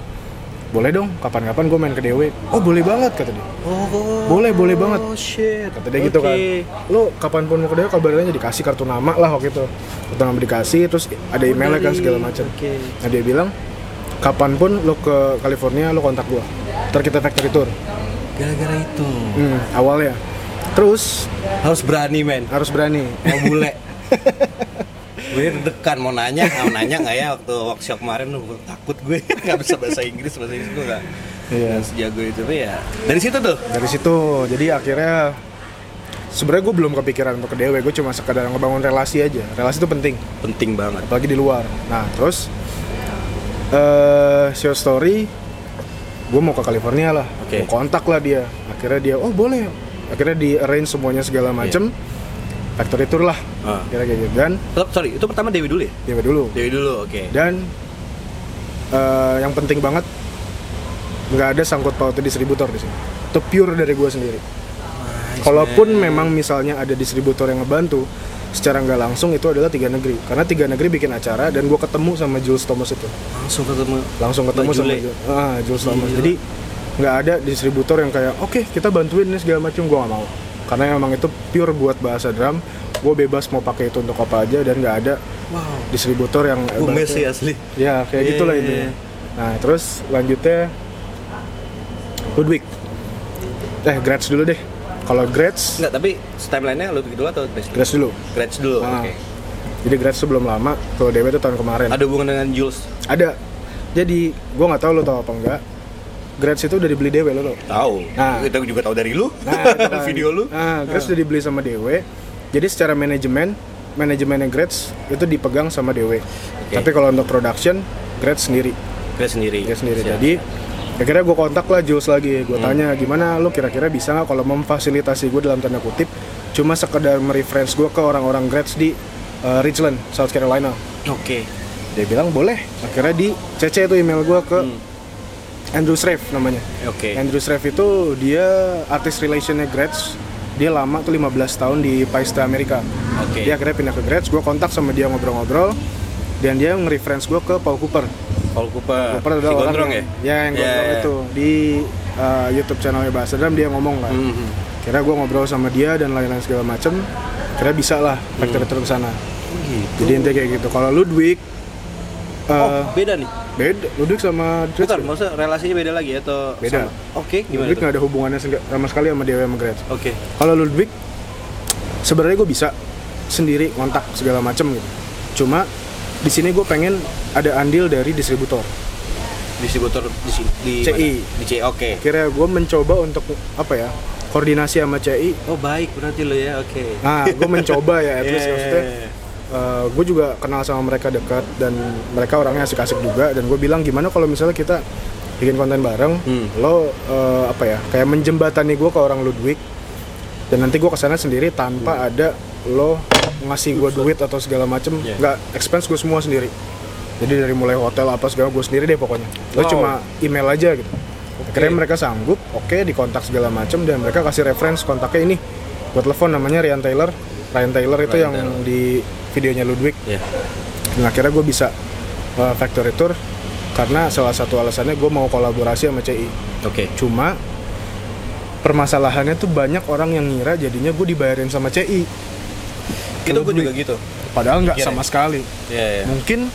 Speaker 2: boleh dong kapan-kapan gue main ke Dewe oh boleh banget kata dia
Speaker 1: Oh,
Speaker 2: Boleh, boleh banget.
Speaker 1: shit.
Speaker 2: kata dia gitu kan
Speaker 1: Oke.
Speaker 2: lo kapanpun mau ke Dewe kabarin aja dikasih kartu nama lah waktu itu kartu nama dikasih terus ada emailnya kan segala macam
Speaker 1: Oke.
Speaker 2: nah dia bilang kapanpun lo ke California lo kontak gue ntar kita factory tour
Speaker 1: Gara-gara itu.
Speaker 2: Hmm, awalnya terus
Speaker 1: Harus berani, men.
Speaker 2: harus berani
Speaker 1: Mau
Speaker 2: [LAUGHS]
Speaker 1: bule. gue deg-degan mau nanya, mau nanya nggak ya waktu workshop kemarin lu gue takut gue nggak bisa bahasa Inggris, bahasa Inggris gue nggak
Speaker 2: Iya.
Speaker 1: nggak sejago itu tapi ya. Dari situ tuh.
Speaker 2: dari situ jadi akhirnya sebenarnya gue belum kepikiran untuk ke dewe gue cuma sekedar ngebangun relasi aja relasi itu penting
Speaker 1: Penting banget.
Speaker 2: apalagi di luar nah terus eh show story gue mau ke California lah
Speaker 1: Oke.
Speaker 2: Gua kontak lah dia akhirnya dia oh boleh akhirnya di arrange semuanya segala macem factory tour lah
Speaker 1: Ah.
Speaker 2: kira kayak gitu dan
Speaker 1: Tetap, sorry, itu pertama Dewi dulu ya?
Speaker 2: dewe dulu
Speaker 1: Dewi dulu, oke.
Speaker 2: dan eh, yang penting banget nggak ada sangkut pautnya distributor di sini itu pure dari gue sendiri Kalaupun memang misalnya ada distributor yang ngebantu, secara nggak langsung itu adalah tiga negeri. Karena tiga negeri bikin acara dan gue ketemu sama Jules Thomas itu,
Speaker 1: Langsung ketemu.
Speaker 2: langsung ketemu
Speaker 1: Mbak
Speaker 2: sama
Speaker 1: Jule.
Speaker 2: Jules, ah, Jules Thomas. Jadi nggak ada distributor yang kayak oke kita bantuin ini segala macam gue nggak mau. Karena memang itu pure buat bahasa drum, gue bebas mau pakai itu untuk apa aja dan nggak ada
Speaker 1: Wow.
Speaker 2: distributor yang
Speaker 1: Kumis
Speaker 2: ibaratnya-
Speaker 1: sih asli.
Speaker 2: Ya kayak
Speaker 1: Iya,
Speaker 2: gitulah
Speaker 1: iya,
Speaker 2: itu.
Speaker 1: iya.
Speaker 2: Nah terus lanjutnya Ludwig. Eh Gretz dulu deh. Kalau Gretz,
Speaker 1: Enggak, tapi timeline-nya lu gitu dulu atau Grace dulu?
Speaker 2: Gretz dulu.
Speaker 1: Grace dulu,
Speaker 2: Ah.
Speaker 1: oke.
Speaker 2: Jadi Gretz tuh belum lama. Kalau Dewa itu tahun kemarin.
Speaker 1: Ada hubungan dengan Jules?
Speaker 2: Ada. Jadi gue nggak tahu lo tahu apa enggak. Gretz itu udah dibeli Dewe lo
Speaker 1: [LAUGHS]
Speaker 2: tau.
Speaker 1: Tahu.
Speaker 2: Nah.
Speaker 1: Kita juga tahu dari lu.
Speaker 2: itu kan.
Speaker 1: Video lu. Ah.
Speaker 2: Nah, Gretz udah dibeli sama Dewe. Jadi secara manajemen, manajemennya Gretz itu dipegang sama Dewe. Tapi kalau untuk production, Gretz sendiri.
Speaker 1: Gue sendiri.
Speaker 2: dia sendiri.
Speaker 1: Siap. Hmm.
Speaker 2: Jadi akhirnya gue kontak lah Jules lagi. Gue tanya gimana lo kira-kira bisa nggak kalau memfasilitasi gue dalam tanda kutip cuma sekedar mereference gue ke orang-orang grads di uh, Richland, South Carolina.
Speaker 1: Oke.
Speaker 2: Dia bilang boleh. Akhirnya di CC itu email gue ke Andrew Shreve namanya.
Speaker 1: Hmm. Oke.
Speaker 2: Andrew Shreve itu dia artis relationnya grads. Dia lama tuh 15 tahun di Paista Amerika.
Speaker 1: Oke.
Speaker 2: Dia akhirnya pindah ke grads. Gue kontak sama dia ngobrol-ngobrol dan dia nge-reference gue ke Paul Cooper.
Speaker 1: Paul Cooper.
Speaker 2: Cooper
Speaker 1: si
Speaker 2: adalah orang
Speaker 1: gondrong ya?
Speaker 2: yang- Ya, yang gondrong
Speaker 1: Ya, ya.
Speaker 2: itu di uh, YouTube channelnya Bahasa Dam dia ngomong lah.
Speaker 1: Mhm.
Speaker 2: Kira gue ngobrol sama dia dan lain-lain segala macem. Kira bisa lah factory
Speaker 1: Hmm.
Speaker 2: tour ke sana.
Speaker 1: Gitu.
Speaker 2: Jadi intinya kayak gitu. Kalau Ludwig
Speaker 1: Oh,
Speaker 2: uh,
Speaker 1: beda nih.
Speaker 2: beda Ludwig sama Dredge
Speaker 1: Bukan, maksudnya relasinya beda lagi atau
Speaker 2: Beda.
Speaker 1: sama? Oke, gimana
Speaker 2: Ludwig
Speaker 1: tuh?
Speaker 2: nggak ada hubungannya sega- sama sekali sama Dewa sama Gretz.
Speaker 1: Oke.
Speaker 2: Kalau Ludwig sebenarnya gue bisa sendiri kontak segala macem gitu. Cuma di sini gue pengen ada andil dari distributor.
Speaker 1: Distributor di sini di
Speaker 2: CI.
Speaker 1: mana? Di CI. Oke.
Speaker 2: Kira gue mencoba untuk apa ya koordinasi sama CI
Speaker 1: Oh, baik berarti lo ya. Oke.
Speaker 2: Nah, gue mencoba ya, at least
Speaker 1: Yeah.
Speaker 2: maksudnya. gue juga kenal sama mereka dekat dan mereka orangnya asik-asik juga dan gue bilang gimana kalau misalnya kita bikin konten bareng
Speaker 1: Hmm.
Speaker 2: lo eh, apa ya kayak menjembatani gue ke orang Ludwig dan nanti gue kesana sendiri tanpa
Speaker 1: Hmm.
Speaker 2: ada lo ngasih gue duit atau segala macem
Speaker 1: Yeah.
Speaker 2: nggak expense gue semua sendiri jadi dari mulai hotel apa segala gue sendiri deh pokoknya lo
Speaker 1: Wow.
Speaker 2: cuma email aja gitu akhirnya mereka sanggup oke dikontak segala macem dan mereka kasih reference kontaknya ini gue telepon namanya Ryan Taylor Ryan Taylor itu
Speaker 1: Ryan
Speaker 2: yang
Speaker 1: Taylor.
Speaker 2: di videonya Ludwig
Speaker 1: Ya.
Speaker 2: dan akhirnya gue bisa uh, factory tour karena salah satu alasannya gue mau kolaborasi sama CI
Speaker 1: Oke.
Speaker 2: cuma permasalahannya tuh banyak orang yang ngira jadinya gue dibayarin sama CI
Speaker 1: Itu gue juga gitu.
Speaker 2: padahal nggak
Speaker 1: Kira-
Speaker 2: sama sekali
Speaker 1: Iya, iya.
Speaker 2: mungkin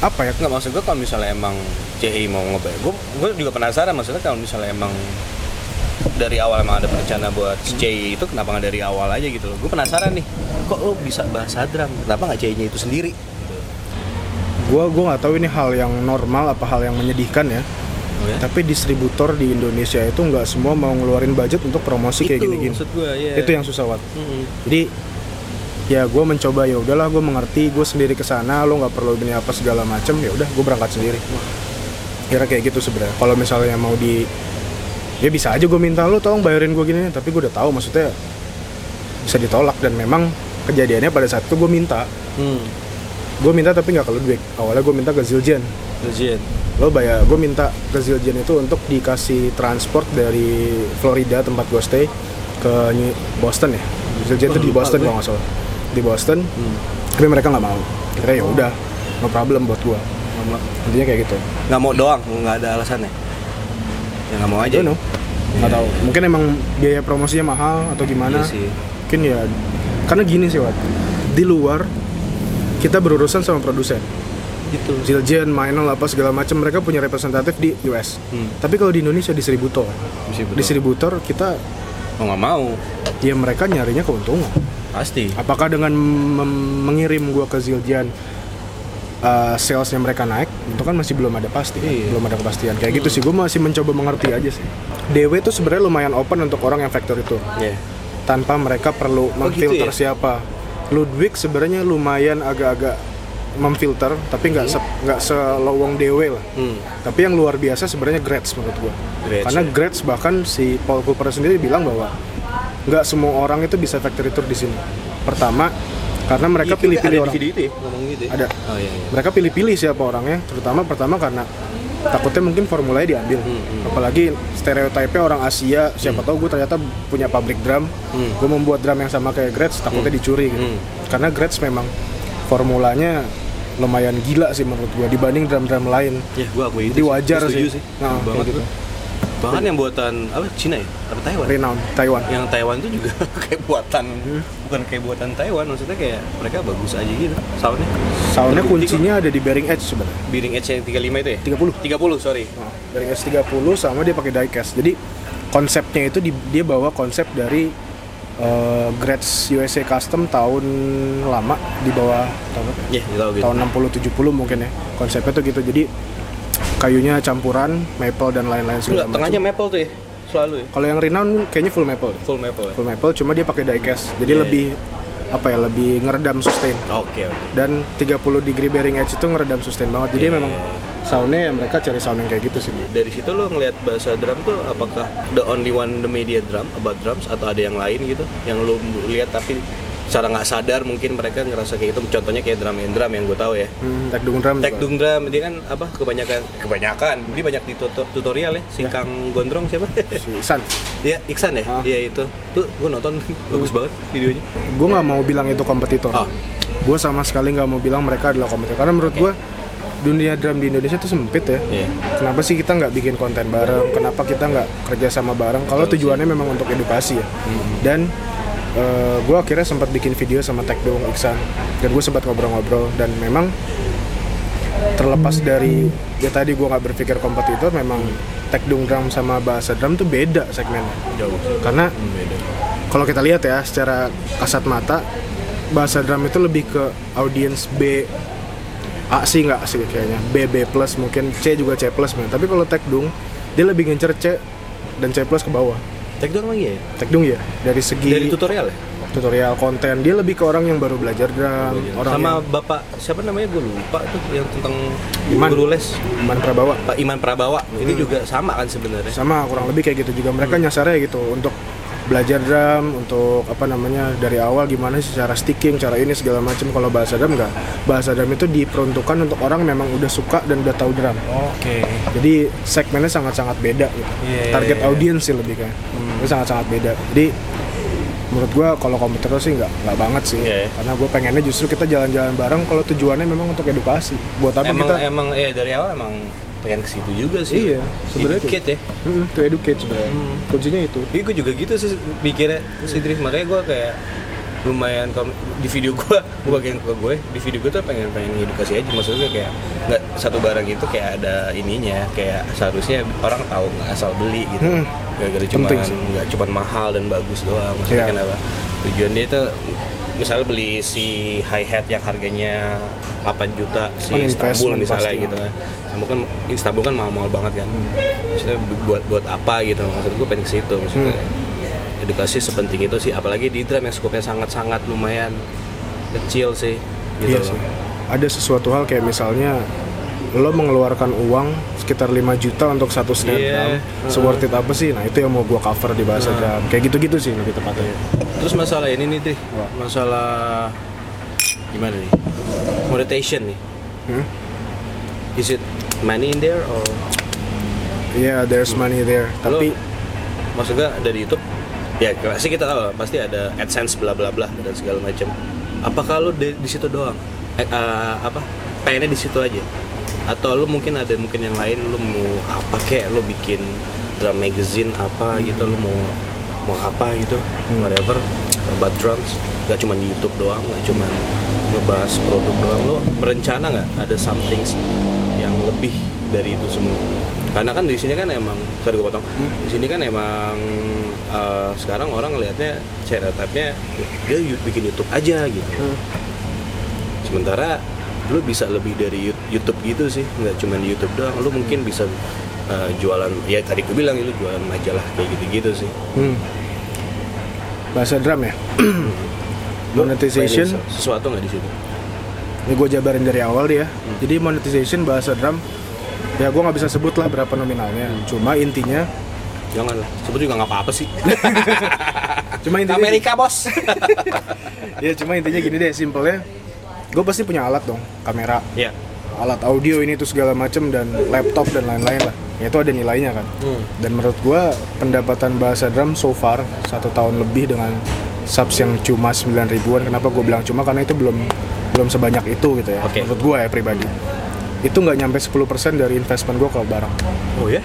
Speaker 2: apa ya
Speaker 1: Nggak maksud gue kalau misalnya emang CI mau ngebayar, gue gue juga penasaran maksudnya kalau misalnya emang dari awal emang ada rencana buat si
Speaker 2: Hmm.
Speaker 1: CI itu kenapa nggak dari awal aja gitu loh? Gue penasaran nih, kok lo bisa bahasa drum? Kenapa nggak CI-nya itu sendiri?
Speaker 2: gue gua nggak tahu ini hal yang normal apa hal yang menyedihkan ya
Speaker 1: Oh, ya?
Speaker 2: tapi distributor di Indonesia itu nggak semua mau ngeluarin budget untuk promosi kayak
Speaker 1: itu
Speaker 2: gini-gini
Speaker 1: maksud gue, ya.
Speaker 2: itu yang susah Wat.
Speaker 1: Mm-mm.
Speaker 2: jadi ya gue mencoba ya udahlah gue mengerti gue sendiri ke sana lo nggak perlu ini apa segala macem ya udah gue berangkat sendiri kira kayak gitu sebenarnya kalau misalnya mau di ya bisa aja gue minta lo tolong bayarin gue gini tapi gue udah tahu maksudnya bisa ditolak dan memang kejadiannya pada saat itu gue minta
Speaker 1: Hmm.
Speaker 2: gue minta tapi nggak ke Ludwig awalnya gue minta ke Zildjian
Speaker 1: Legend.
Speaker 2: lo bayar gue minta ke Zildjian itu untuk dikasih transport dari Florida tempat gue stay ke New- Boston ya Zildjian itu
Speaker 3: Hmm,
Speaker 2: di
Speaker 1: Lupa
Speaker 2: Boston
Speaker 1: gue.
Speaker 2: kalau nggak salah di Boston tapi mereka nggak mau kira
Speaker 3: Oh.
Speaker 2: ya udah no problem buat gue intinya kayak gitu
Speaker 1: Nggak mau doang, nggak ada alasannya.
Speaker 3: ya nggak mau aja
Speaker 2: Don't know. Nggak tahu. Mungkin emang biaya promosinya mahal atau gimana?
Speaker 3: Iya sih.
Speaker 2: Mungkin ya karena gini sih, Wat. Di luar kita berurusan sama produsen.
Speaker 3: gitu
Speaker 2: Zildjian, Mainol apa segala macam mereka punya representatif di US.
Speaker 3: Hmm.
Speaker 2: Tapi kalau di Indonesia distributor.
Speaker 3: Distributor.
Speaker 2: Distributor kita
Speaker 3: mau nggak mau
Speaker 2: ya mereka nyarinya keuntungan.
Speaker 3: pasti
Speaker 2: Apakah dengan mem- mengirim gua ke Zildjian uh, salesnya mereka naik? Itu kan masih belum ada pasti, kan?
Speaker 3: Iya.
Speaker 2: belum ada kepastian. Kayak gitu sih, gua masih mencoba mengerti aja sih. DW itu sebenarnya lumayan open untuk orang yang factor itu,
Speaker 3: ya
Speaker 2: tanpa mereka perlu
Speaker 3: gitu
Speaker 2: memfilter
Speaker 3: ya?
Speaker 2: siapa. Ludwig sebenarnya lumayan agak-agak memfilter, tapi nggak se nggak selowong DW lah.
Speaker 3: hmm.
Speaker 2: Tapi yang luar biasa sebenarnya Gretz menurut gua.
Speaker 3: Gretz, ya.
Speaker 2: Karena Gretz bahkan si Paul Cooper sendiri bilang bahwa nggak semua orang itu bisa factory tour di sini. Pertama, karena mereka
Speaker 3: Iya,
Speaker 2: pilih-pilih
Speaker 3: ada di
Speaker 2: orang.
Speaker 3: video itu ya ngomong gitu ya
Speaker 2: Ada.
Speaker 3: oh iya, iya.
Speaker 2: Mereka pilih-pilih siapa orangnya, terutama pertama karena takutnya mungkin formulanya diambil.
Speaker 3: Hmm,
Speaker 2: Apalagi stereotipe orang Asia, siapa tahu gue ternyata punya pabrik drum,
Speaker 3: Hmm.
Speaker 2: gue membuat drum yang sama kayak Gretz, takutnya dicuri gitu.
Speaker 3: Hmm.
Speaker 2: Karena Gretz memang formulanya lumayan gila sih menurut gua dibanding drum-drum lain.
Speaker 3: ya gua akui itu
Speaker 2: Jadi wajar
Speaker 3: Gua setuju
Speaker 2: sih.
Speaker 3: sih
Speaker 2: Nah,
Speaker 3: Setuju
Speaker 2: kayak
Speaker 3: banget
Speaker 2: gitu.
Speaker 3: tuh. bahkan yang buatan apa Cina ya apa Taiwan
Speaker 2: Renown Taiwan.
Speaker 3: yang Taiwan itu juga [LAUGHS] kayak buatan bukan kayak buatan Taiwan maksudnya kayak mereka bagus aja gitu soundnya
Speaker 2: Soundnya
Speaker 3: Terbukti kok.
Speaker 2: kuncinya ada di bearing edge sebenarnya.
Speaker 3: Bearing Edge yang 35 itu ya?
Speaker 2: 30.
Speaker 3: 30, sorry.
Speaker 2: Nah, bearing edge 30 sama dia pakai diecast. Jadi konsepnya itu di- dia bawa konsep dari eh, Gretsch USA Custom tahun lama di bawah tahun berapa ya?
Speaker 3: Iya, tahu gitu.
Speaker 2: tahun 60 70 mungkin ya. Konsepnya tuh gitu. Jadi kayunya campuran maple dan lain-lain
Speaker 3: Enggak,
Speaker 2: segala
Speaker 3: tengahnya
Speaker 2: macam.
Speaker 3: maple tuh ya? Selalu ya?
Speaker 2: Kalau yang Renown kayaknya full maple. deh.
Speaker 3: Full maple ya?
Speaker 2: Full maple cuma dia pakai diecast. Jadi
Speaker 3: Iya,
Speaker 2: lebih apa ya? Lebih ngeredam sustain.
Speaker 3: Oke, oke.
Speaker 2: dan 30 degree bearing edge itu ngeredam sustain banget jadi
Speaker 3: Iya.
Speaker 2: memang soundnya ya mereka cari sound yang kayak gitu sih
Speaker 3: Dari situ lo ngelihat bahasa drum tuh apakah the only one the media drum about drums atau ada yang lain gitu yang lo lihat tapi secara nggak sadar mungkin mereka ngerasa kayak gitu contohnya kayak drum and drum yang gue tahu ya
Speaker 2: hmm, tag dung drum
Speaker 3: Tek
Speaker 2: juga.
Speaker 3: dung drum dia kan apa kebanyakan kebanyakan dia banyak di tuto- tutorial ya si Kang Gondrong siapa [LAUGHS]
Speaker 2: si San
Speaker 3: ya Iksan ya
Speaker 2: Ah.
Speaker 3: iya itu tuh gue nonton [LAUGHS] bagus banget videonya
Speaker 2: gue nggak mau bilang itu kompetitor
Speaker 3: Ah.
Speaker 2: gue sama sekali nggak mau bilang mereka adalah kompetitor karena menurut gue dunia drum di Indonesia itu sempit ya
Speaker 3: Iya.
Speaker 2: kenapa sih kita nggak bikin konten bareng kenapa kita nggak kerja sama bareng kalau tujuannya memang untuk edukasi ya
Speaker 3: Mm-hmm.
Speaker 2: dan gue akhirnya sempat bikin video sama Tech Doang Iksan dan gue sempat ngobrol-ngobrol dan memang terlepas dari ya tadi gue nggak berpikir kompetitor memang Tech Doang Drum sama bahasa drum tuh beda segmennya
Speaker 3: jauh sih.
Speaker 2: karena
Speaker 3: Hmm, beda
Speaker 2: kalau kita lihat ya secara kasat mata bahasa drum itu lebih ke audience B A sih nggak sih kayaknya B B plus mungkin C juga C plus men. tapi kalau tekdung dia lebih ngincer C dan C plus ke bawah
Speaker 3: Tek dung lagi ya
Speaker 2: tekdung ya dari segi
Speaker 3: dari tutorial ya
Speaker 2: tutorial konten dia lebih ke orang yang baru belajar drum orang
Speaker 3: sama
Speaker 2: yang,
Speaker 3: bapak siapa namanya gue lupa tuh yang tentang
Speaker 2: Iman.
Speaker 3: guru les
Speaker 2: Iman Prabawa
Speaker 3: Pak Iman Prabawa itu juga sama kan sebenarnya
Speaker 2: sama kurang lebih kayak gitu juga mereka
Speaker 3: Hmm.
Speaker 2: nyasarnya gitu untuk belajar drum untuk apa namanya dari awal gimana sih cara sticking cara ini segala macam kalau bahasa drum enggak bahasa drum itu diperuntukkan untuk orang memang udah suka dan udah tahu drum
Speaker 3: oke
Speaker 2: jadi segmennya sangat-sangat beda gitu.
Speaker 3: Oh. Iya,
Speaker 2: target
Speaker 3: iya, Hmm. iya.
Speaker 2: audience sih lebih kan itu sangat-sangat beda jadi menurut gua kalau komputer sih nggak nggak banget sih
Speaker 3: Iya, iya.
Speaker 2: karena gue pengennya justru kita jalan-jalan bareng kalau tujuannya memang untuk edukasi buat apa
Speaker 3: emang
Speaker 2: kita
Speaker 3: emang eh dari awal emang pengen ke situ juga sih
Speaker 2: Iya, sebenarnya
Speaker 3: Sedikit ya
Speaker 2: Mm, to educate sebenarnya kuncinya itu
Speaker 3: Iya gue juga gitu sih pikirnya sih Drif makanya gue kayak lumayan kom- di video gue gue bagian ke gue di video gue tuh pengen pengen edukasi aja maksudnya kayak nggak satu barang itu kayak ada ininya kayak seharusnya orang tahu nggak asal beli gitu
Speaker 2: Hmm.
Speaker 3: gak gara cuma
Speaker 2: Penting sih.
Speaker 3: nggak cuma mahal dan bagus doang maksudnya
Speaker 2: Iya.
Speaker 3: kenapa tujuan dia itu misalnya beli si hi hat yang harganya 8 juta si
Speaker 2: Kan
Speaker 3: Istanbul
Speaker 2: investment
Speaker 3: misalnya
Speaker 2: pasti.
Speaker 3: gitu kan Istanbul kan Istanbul kan mahal-mahal banget kan maksudnya buat buat apa gitu maksud gue pengen ke situ maksudnya edukasi sepenting itu sih apalagi di drum yang skopnya sangat-sangat lumayan kecil sih gitu
Speaker 2: Iya
Speaker 3: loh.
Speaker 2: sih. Ada sesuatu hal kayak misalnya lo mengeluarkan uang sekitar 5 juta untuk satu snare
Speaker 3: Iya.
Speaker 2: drum, so worth it apa sih? Nah itu yang mau gua cover di bahasa drum. Kayak gitu-gitu sih lebih tepatnya.
Speaker 3: terus masalah ini nih Tri.
Speaker 2: Apa?
Speaker 3: masalah gimana nih meditation nih
Speaker 2: Hmm?
Speaker 3: is it money in there or
Speaker 2: Yeah, Iya, there's money there.
Speaker 3: Lo-
Speaker 2: Tapi
Speaker 3: maksudnya dari YouTube ya pasti kita tahu lah, pasti ada AdSense bla bla bla dan segala macam. Apakah lo di, di situ doang? Eh, eh, apa? Pengennya di situ aja? Atau lo mungkin ada mungkin yang lain lo mau apa kayak lo bikin
Speaker 1: drum magazine apa gitu lu mau mau apa gitu whatever about drums gak cuma di YouTube doang gak cuma ngebahas produk doang lo berencana nggak ada something yang lebih dari itu semua karena kan di sini kan emang sorry gue potong di sini kan emang eh, sekarang orang ngelihatnya stereotipnya dia yu- bikin YouTube aja gitu sementara lu bisa lebih dari Yout- YouTube gitu sih nggak cuma di YouTube doang lu mungkin bisa uh, jualan ya tadi gue bilang itu jualan majalah kayak gitu-gitu sih
Speaker 2: Hmm. Bahasa drum ya.
Speaker 1: Lu
Speaker 2: [CLEARS THROAT] Monetization.
Speaker 1: pengen sesuatu nggak di situ
Speaker 2: Ini gue jabarin dari awal dia. Jadi monetization bahasa drum ya gue nggak bisa sebut lah berapa nominalnya. Cuma intinya,
Speaker 1: jangan lah sebetulnya juga nggak apa-apa sih
Speaker 2: cuma intinya,
Speaker 1: Amerika bos
Speaker 2: ya cuma intinya gini deh, simpelnya. Gue pasti punya alat dong, kamera,
Speaker 1: [LAUGHS] ya
Speaker 2: alat audio ini tuh segala macem dan laptop dan lain-lain lah. Ya, Itu ada nilainya kan. Dan menurut gue pendapatan bahasa drum so far satu tahun lebih dengan subs yang cuma 9 ribuan. Kenapa gue bilang cuma? Karena itu belum belum sebanyak itu gitu ya.
Speaker 1: Oke.
Speaker 2: Menurut gue ya pribadi. Itu nggak nyampe 10% dari investment gue ke barang.
Speaker 1: oh ya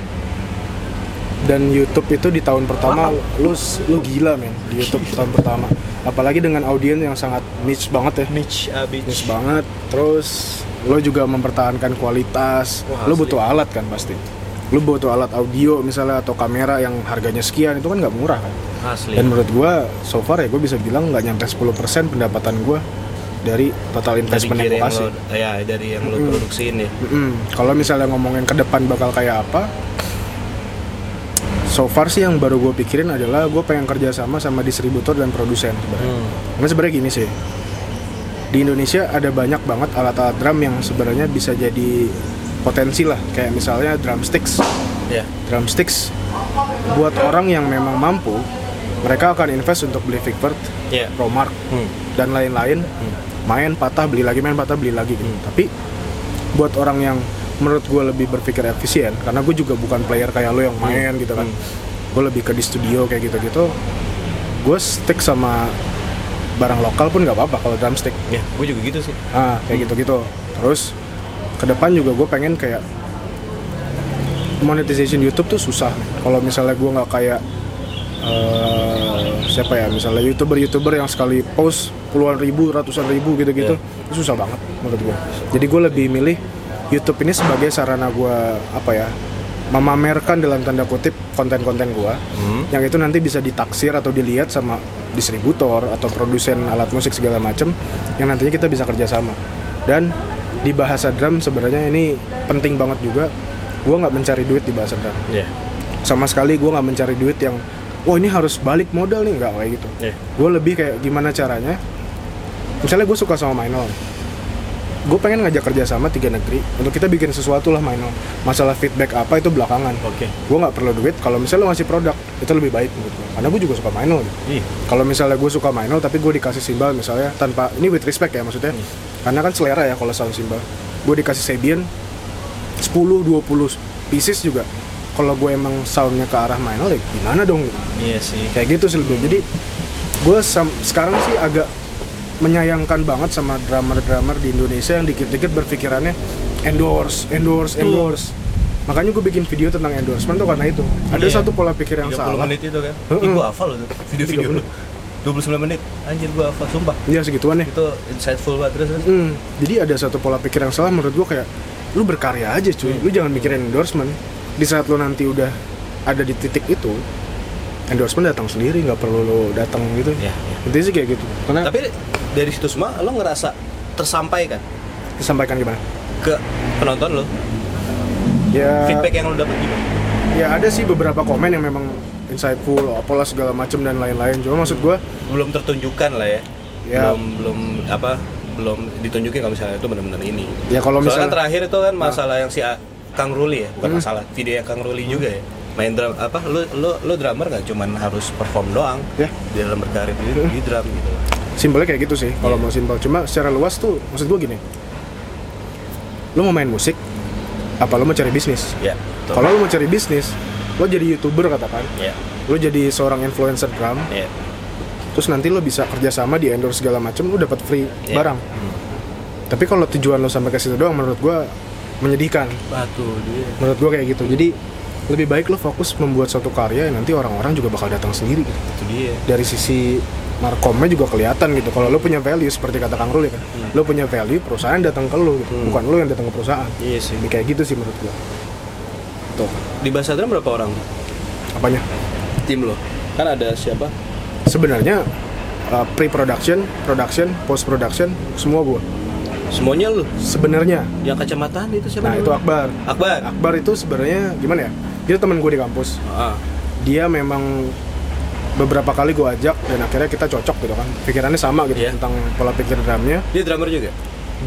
Speaker 2: Dan YouTube itu di tahun pertama lu lu gila men di YouTube tahun pertama. Apalagi dengan audiens yang sangat niche banget ya.
Speaker 1: niche
Speaker 2: Niche banget. Terus lo juga mempertahankan kualitas.
Speaker 1: Wah,
Speaker 2: lo
Speaker 1: asli.
Speaker 2: butuh alat kan pasti. Lo butuh alat audio misalnya atau kamera yang harganya sekian itu kan nggak murah kan.
Speaker 1: asli
Speaker 2: Dan menurut gua so far ya gue bisa bilang nggak nyampe 10% pendapatan gua dari total
Speaker 1: dari
Speaker 2: investment
Speaker 1: gear
Speaker 2: yang gue
Speaker 1: yang
Speaker 2: kasih.
Speaker 1: lo, ya dari yang lo produksiin ya
Speaker 2: Mm-mm. Kalau misalnya ngomongin ke depan bakal kayak apa? So far sih yang baru gue pikirin adalah gue pengen kerjasama sama distributor dan produsen. sebenarnya. Karena sebenarnya gini sih, di Indonesia ada banyak banget alat-alat drum yang sebenarnya bisa jadi potensi lah. Kayak misalnya drumsticks.
Speaker 1: ya
Speaker 2: Drumsticks buat orang yang memang mampu, mereka akan invest untuk beli Vicvert,
Speaker 1: ya
Speaker 2: Promark,
Speaker 1: Hmm.
Speaker 2: dan lain-lain. Main patah beli lagi, main patah beli lagi gitu. Tapi buat orang yang menurut gue lebih berpikir efisien, karena gue juga bukan player kayak lo yang main gitu kan. Gue lebih ke di studio kayak gitu-gitu. Gue stick sama barang lokal pun nggak apa-apa kalau drumstick.
Speaker 1: ya gue juga gitu sih
Speaker 2: Ah, kayak gitu-gitu. Terus ke depan juga gue pengen kayak monetization YouTube tuh susah. Kalau misalnya gue nggak kayak eh, siapa ya, misalnya youtuber-youtuber yang sekali post puluhan ribu, ratusan ribu gitu-gitu, itu susah banget menurut gue. Jadi gue lebih milih YouTube ini sebagai sarana gue apa ya memamerkan dalam tanda kutip konten-konten gue yang itu nanti bisa ditaksir atau dilihat sama distributor atau produsen alat musik segala macem yang nantinya kita bisa kerjasama dan di bahasa drum sebenarnya ini penting banget juga gue nggak mencari duit di bahasa drum
Speaker 1: ya
Speaker 2: sama sekali gue nggak mencari duit yang wah ini harus balik modal nih nggak kayak gitu
Speaker 1: ya
Speaker 2: gue lebih kayak gimana caranya misalnya gue suka sama Minol gue pengen ngajak kerjasama tiga negeri untuk kita bikin sesuatu lah Minol masalah feedback apa itu belakangan
Speaker 1: oke
Speaker 2: gue nggak perlu duit kalau misalnya lo ngasih produk itu lebih baik menurut gue karena gue juga suka Minol
Speaker 1: ih
Speaker 2: gitu. kalau misalnya gue suka Minol tapi gue dikasih simbal misalnya tanpa ini with respect ya maksudnya karena kan selera ya kalau sound simbal gue dikasih Sabian 10-20 pieces juga kalau gue emang soundnya ke arah Minol ya gimana dong gitu
Speaker 1: iya sih
Speaker 2: kayak gitu sih lebih jadi gue sam- sekarang sih agak menyayangkan banget sama drummer-drummer di Indonesia yang dikit-dikit berpikirannya endorse, endorse, endorse. Makanya gue bikin video tentang endorsement tuh karena itu. Ada
Speaker 1: Iya.
Speaker 2: satu pola pikir yang
Speaker 1: 30
Speaker 2: salah.
Speaker 1: menit itu kan
Speaker 2: Heeh.
Speaker 1: Ih, gue hafal loh tuh video-video lu 29 menit anjir gue hafal sumpah
Speaker 2: Iya segituan ya.
Speaker 1: itu insightful banget terus terus.
Speaker 2: Mm, jadi ada satu pola pikir yang salah menurut gue kayak lu berkarya aja cuy,
Speaker 1: Hmm.
Speaker 2: lu jangan mikirin endorsement. Di saat lu nanti udah ada di titik itu, endorsement datang sendiri, nggak perlu lu datang gitu.
Speaker 1: Iya, iya.
Speaker 2: Intinya sih kayak gitu. Karena
Speaker 1: tapi dari situ semua lo ngerasa tersampaikan
Speaker 2: disampaikan gimana?
Speaker 1: ke penonton lo
Speaker 2: Ya.
Speaker 1: feedback yang lo gitu? dapat gimana
Speaker 2: ya ada sih beberapa komen yang memang insightful apalah segala macam dan lain-lain cuma maksud gue
Speaker 1: belum tertunjukkan lah ya
Speaker 2: Ya.
Speaker 1: belum belum apa belum ditunjukin kalau misalnya itu benar-benar ini
Speaker 2: ya
Speaker 1: soalnya kan
Speaker 2: kalau misalnya Nah. Hmm.
Speaker 1: terakhir itu kan masalah yang si A- Kang Ruli ya bukan masalah video yang Kang Ruli juga ya main drum apa lu lu lu drummer nggak cuman harus perform doang
Speaker 2: Ya.
Speaker 1: di dalam berkarir di, di drum gitu
Speaker 2: simpelnya kayak gitu sih kalau
Speaker 1: Iya.
Speaker 2: mau simpel cuma secara luas tuh maksud gue gini lo mau main musik apa lo mau cari bisnis
Speaker 1: ya betul.
Speaker 2: kalau lo mau cari bisnis lo jadi youtuber katakan
Speaker 1: ya
Speaker 2: lo jadi seorang influencer drum
Speaker 1: ya
Speaker 2: terus nanti lo bisa kerjasama di endorse segala macam lo dapat free
Speaker 1: Iya.
Speaker 2: barang tapi kalau tujuan lo sampai ke situ doang menurut gue menyedihkan
Speaker 1: batu dia
Speaker 2: menurut gue kayak gitu jadi lebih baik lo fokus membuat satu karya yang nanti orang-orang juga bakal datang sendiri gitu.
Speaker 3: itu dia
Speaker 2: dari sisi markomnya juga kelihatan gitu kalau lo punya value seperti kata Kang Rul ya kan lo punya value perusahaan datang ke lo gitu bukan lo yang datang ke perusahaan
Speaker 3: iya sih
Speaker 2: Jadi kayak gitu sih menurut gua tuh
Speaker 3: di Basadran berapa orang
Speaker 2: apanya
Speaker 3: tim lo kan ada siapa
Speaker 2: sebenarnya uh, pre-production production post-production semua gua
Speaker 3: semuanya lo
Speaker 2: sebenarnya
Speaker 3: yang kacamataan itu siapa
Speaker 2: nah itu
Speaker 3: namanya?
Speaker 2: Akbar
Speaker 3: Akbar
Speaker 2: Akbar itu sebenarnya gimana ya dia teman gue di kampus
Speaker 3: Ah,
Speaker 2: dia memang beberapa kali gue ajak dan akhirnya kita cocok gitu kan pikirannya sama gitu
Speaker 3: Iya.
Speaker 2: tentang pola pikir drumnya
Speaker 3: dia drummer juga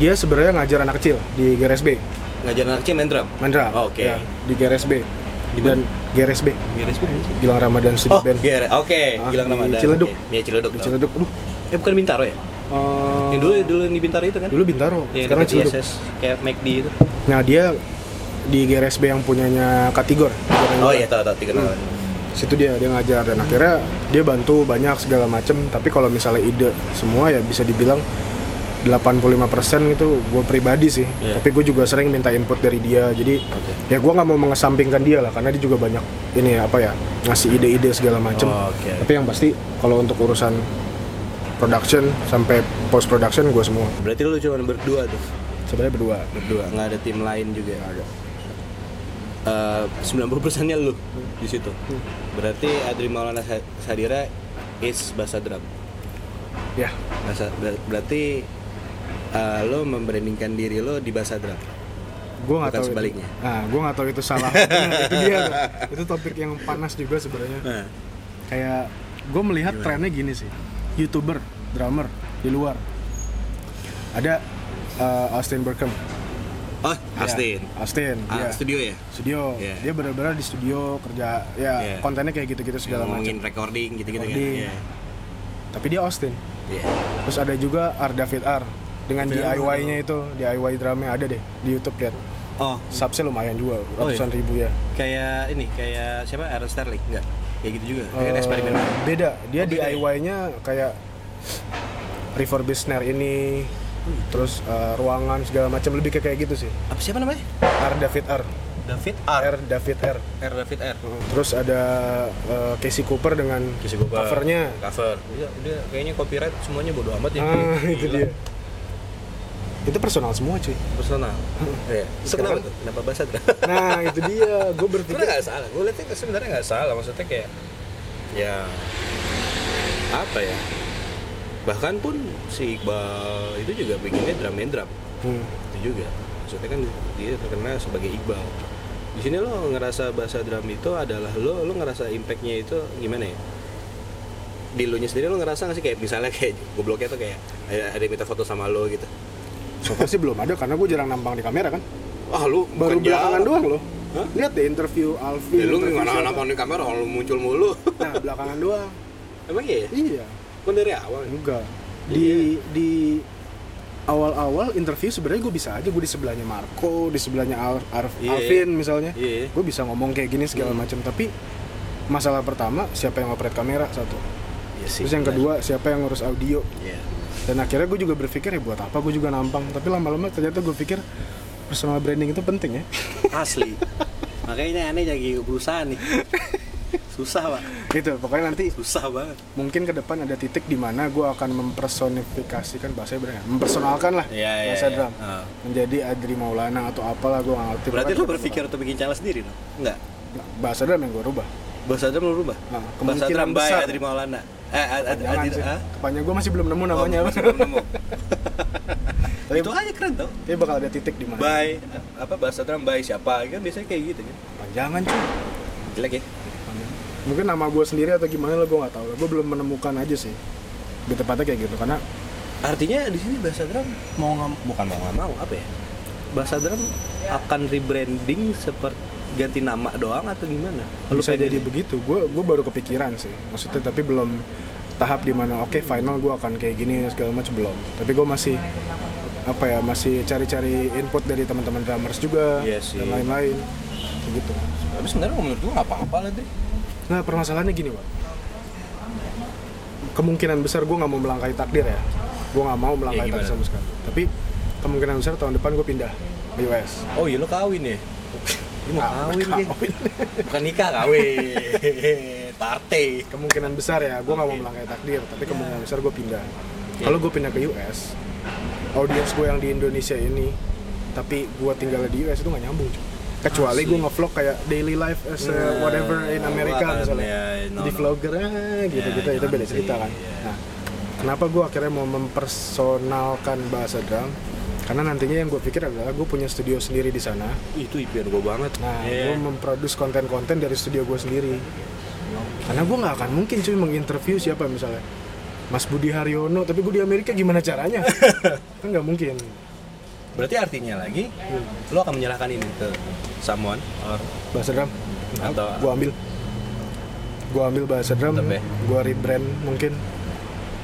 Speaker 2: dia sebenarnya ngajar anak kecil di GRSB
Speaker 3: ngajar anak kecil main drum
Speaker 2: Mandra
Speaker 3: Oh, oke.
Speaker 2: Ya, di GRSB
Speaker 3: Di
Speaker 2: dan GRSB
Speaker 3: Miris banget sih.
Speaker 2: Gilang Ramadan Studio
Speaker 3: Oh,
Speaker 2: Band
Speaker 3: GR. Oke,
Speaker 2: Ah,
Speaker 3: Gilang
Speaker 2: di
Speaker 3: Ramadan.
Speaker 2: Ciledug.
Speaker 3: Oke. Iya, Ciledug.
Speaker 2: di
Speaker 3: tau.
Speaker 2: Ciledug aduh
Speaker 3: Eh, bukan Bintaro ya?
Speaker 2: eh,
Speaker 3: Yang dulu dulu yang di Bintaro itu kan?
Speaker 2: dulu Bintaro
Speaker 3: Yang
Speaker 2: sekarang
Speaker 3: dekat
Speaker 2: Ciledug
Speaker 3: ISS, kayak McD itu.
Speaker 2: nah dia di GRSB yang punyanya Katigor
Speaker 3: Oh iya, tahu tahu tiga nama.
Speaker 2: situ dia dia ngajar dan akhirnya dia bantu banyak segala macem tapi kalau misalnya ide semua ya bisa dibilang 85% itu gue gitu, pribadi sih
Speaker 3: Iya.
Speaker 2: tapi gue juga sering minta input dari dia jadi ya gue nggak mau mengesampingkan dia lah karena dia juga banyak ini ya, apa ya ngasih ide-ide segala macem
Speaker 3: Oh, oke.
Speaker 2: tapi yang pasti kalau untuk urusan production sampai post production gue semua
Speaker 3: Berarti lu cuma berdua tuh.
Speaker 2: sebenarnya berdua
Speaker 3: Berdua, nggak ada tim lain juga. Eh, Ada. 90%-nya lu di situ. Berarti Adri Maulana Sa- Sadira is bahasa drum.
Speaker 2: ya
Speaker 3: Bahasa ber- berarti eh, lo membrandingkan diri lo di bahasa drum.
Speaker 2: gue nggak
Speaker 3: Bukan
Speaker 2: tahu itu.
Speaker 3: sebaliknya.
Speaker 2: nah gue nggak tahu itu salah
Speaker 3: [LAUGHS]
Speaker 2: Nah, itu dia tuh. itu topik yang panas juga sebenarnya
Speaker 3: Nah.
Speaker 2: kayak gue melihat trennya gini sih youtuber drummer di luar ada uh, Austin Berkham
Speaker 3: Oh, Austin.
Speaker 2: Ya, Austin
Speaker 3: Ah,
Speaker 2: dia
Speaker 3: studio ya?
Speaker 2: studio
Speaker 3: Iya.
Speaker 2: dia benar-benar di studio kerja ya
Speaker 3: Iya.
Speaker 2: kontennya kayak gitu-gitu segala macam
Speaker 3: ngomongin recording gitu-gitu kan.
Speaker 2: Recording.
Speaker 3: Iya.
Speaker 2: tapi dia Austin
Speaker 3: Iya.
Speaker 2: terus ada juga Arda Fitar dengan
Speaker 3: David R.
Speaker 2: DIY-nya itu DIY drumnya ada deh di YouTube lihat
Speaker 3: Oh,
Speaker 2: subsnya lumayan juga
Speaker 3: Oh, iya?
Speaker 2: ratusan ribu ya
Speaker 3: kayak ini, kayak siapa? Aaron Sterling enggak? Kayak gitu juga. Kayak
Speaker 2: Eh,
Speaker 3: eksperimen.
Speaker 2: beda dia
Speaker 3: Oh, beda ya?
Speaker 2: DIY-nya kayak refurbished snare ini terus eh, ruangan segala macam lebih kayak kayak gitu sih
Speaker 3: Apa siapa namanya?
Speaker 2: R David R
Speaker 3: David
Speaker 2: R David R
Speaker 3: R David R.
Speaker 2: terus ada eh, Casey Cooper dengan
Speaker 3: Kasih gua
Speaker 2: covernya
Speaker 3: Cover. Dia, dia kayaknya copyright semuanya bodo amat ya.
Speaker 2: ah [LAUGHS]
Speaker 3: Gila.
Speaker 2: itu dia itu personal semua cuy
Speaker 3: Personal. Iya. Terus Kenapa
Speaker 2: Sekarang-
Speaker 3: tuh? Kenapa bahasa drum? [LAUGHS]
Speaker 2: nah itu dia gue
Speaker 3: sebenarnya
Speaker 2: berpikir
Speaker 3: nggak salah. Gue liatnya sebenarnya nggak salah. Maksudnya kayak ya apa ya? Bahkan pun si Iqbal itu juga bikinnya drum and drum.
Speaker 2: Hmm.
Speaker 3: itu juga maksudnya kan dia terkenal sebagai Iqbal di sini lo ngerasa bahasa drum itu adalah lo lo ngerasa impactnya itu gimana ya di lo nya sendiri lo ngerasa nggak sih kayak misalnya kayak gobloknya tuh kayak ada, ada yang minta foto sama lo gitu
Speaker 2: so far sih belum ada karena gue jarang nampang di kamera kan
Speaker 3: wah lo
Speaker 2: baru belakangan doang loh
Speaker 3: Hah?
Speaker 2: lihat deh interview Alfi
Speaker 3: ya, lo
Speaker 2: interview
Speaker 3: gimana
Speaker 2: siapa.
Speaker 3: apa di kamera lo muncul mulu [LAUGHS]
Speaker 2: nah belakangan doang
Speaker 3: emang iya ya?
Speaker 2: iya
Speaker 3: kan dari awal
Speaker 2: enggak
Speaker 3: Iya,
Speaker 2: di di awal-awal interview sebenarnya gue bisa aja gue di sebelahnya Marco di sebelahnya Al Arf-
Speaker 3: Iya.
Speaker 2: Alvin misalnya
Speaker 3: Iya. Hmm.
Speaker 2: gue bisa ngomong kayak gini segala macam tapi masalah pertama siapa yang operate kamera satu
Speaker 3: Iya sih
Speaker 2: terus yang kedua siapa yang ngurus audio
Speaker 3: Iya.
Speaker 2: dan akhirnya gue juga berpikir ya buat apa gue juga nampang tapi lama-lama ternyata gue pikir personal branding itu penting ya [LAUGHS]
Speaker 3: asli makanya aneh jadi perusahaan nih susah pak
Speaker 2: gitu pokoknya nanti
Speaker 3: susah banget
Speaker 2: mungkin ke depan ada titik di mana gue akan mempersonifikasikan bahasanya benar nggak? mempersonalkan lah
Speaker 3: Iya, iya,
Speaker 2: bahasa
Speaker 3: iya.
Speaker 2: drum
Speaker 3: Ah.
Speaker 2: menjadi Adri Maulana atau apalah gue nggak ngerti
Speaker 3: berarti
Speaker 2: Pokoknya
Speaker 3: lo berpikir untuk bikin channel sendiri lo enggak
Speaker 2: bahasa drum yang gue rubah
Speaker 3: Bahasa drum lu rubah?
Speaker 2: Nah,
Speaker 3: Bahasa
Speaker 2: kemungkinan
Speaker 3: drum by
Speaker 2: besar.
Speaker 3: Adri Maulana. Eh, Ad, Ad,
Speaker 2: jangan
Speaker 3: Adri-
Speaker 2: sih
Speaker 3: ah?
Speaker 2: kepanjang gue masih belum nemu namanya
Speaker 3: Oh,
Speaker 2: apa
Speaker 3: masih belum nemu.
Speaker 2: [LAUGHS] Tapi-
Speaker 3: Itu aja keren tau.
Speaker 2: tapi bakal ada titik di mana
Speaker 3: By apa bahasa drum by siapa? Kan biasanya kayak gitu kan.
Speaker 2: panjangan Nah, cuy
Speaker 3: Jelek ya.
Speaker 2: mungkin nama gue sendiri atau gimana lah gue nggak tahu gue belum menemukan aja sih lebih tepatnya kayak gitu karena
Speaker 3: Artinya di sini bahasa drum mau nggak bukan mau nggak mau apa ya? Bahasa drum akan rebranding seperti ganti nama doang atau gimana? Lu
Speaker 2: bisa
Speaker 3: pengen-
Speaker 2: jadi begitu gue gue baru kepikiran sih maksudnya tapi belum tahap dimana oke final gue akan kayak gini segala macam belum tapi gue masih apa ya masih cari-cari input dari teman-teman drummers juga
Speaker 3: Iya sih.
Speaker 2: dan lain-lain gitu
Speaker 3: Tapi sebenarnya menurut gua nggak apa-apa lah deh.
Speaker 2: nah permasalahannya gini pak kemungkinan besar gue nggak mau melangkahi takdir ya gue nggak mau melangkahi
Speaker 3: gimana?
Speaker 2: takdir sama sekali tapi kemungkinan besar tahun depan gue pindah ke US
Speaker 3: Oh iya lo kawin ya?
Speaker 1: Ini mau
Speaker 2: Ah,
Speaker 1: kawin, dia.
Speaker 2: Kawin.
Speaker 1: Bukan nikah,
Speaker 3: [LAUGHS]
Speaker 1: kawin. Partai.
Speaker 2: kemungkinan besar ya gue nggak mau melangkai takdir tapi
Speaker 1: Ya.
Speaker 2: kemungkinan besar gue pindah kalau gue pindah ke US audiens gue yang di Indonesia ini tapi gue tinggal di US itu nggak nyambung cuy kecuali gue ngevlog kayak daily life as a
Speaker 1: Nah,
Speaker 2: whatever in America
Speaker 1: bukan,
Speaker 2: misalnya
Speaker 1: ya, no,
Speaker 2: di
Speaker 1: no.
Speaker 2: vlogger ah, gitu-gitu
Speaker 1: Ya,
Speaker 2: itu beda
Speaker 1: jangan
Speaker 2: cerita
Speaker 1: sih,
Speaker 2: kan
Speaker 1: ya.
Speaker 2: nah kenapa gue akhirnya mau mempersonalkan bahasa drum karena nantinya yang gue pikir adalah gue punya studio sendiri di sana
Speaker 1: Itu impian gue banget.
Speaker 2: Nah,
Speaker 1: Iya.
Speaker 2: gue memproduksi konten-konten dari studio gue sendiri. Karena gue nggak akan mungkin cuy menginterview siapa misalnya Mas Budi Haryono, tapi gue di Amerika gimana caranya?
Speaker 1: [LAUGHS]
Speaker 2: kan nggak mungkin.
Speaker 1: Berarti artinya lagi,
Speaker 3: Iya.
Speaker 1: lo akan menyerahkan ini ke someone or
Speaker 2: Bahasa drum,
Speaker 1: atau
Speaker 2: gue ambil. Gue ambil bahasa drum,
Speaker 1: Tetep ya.
Speaker 2: gue rebrand mungkin.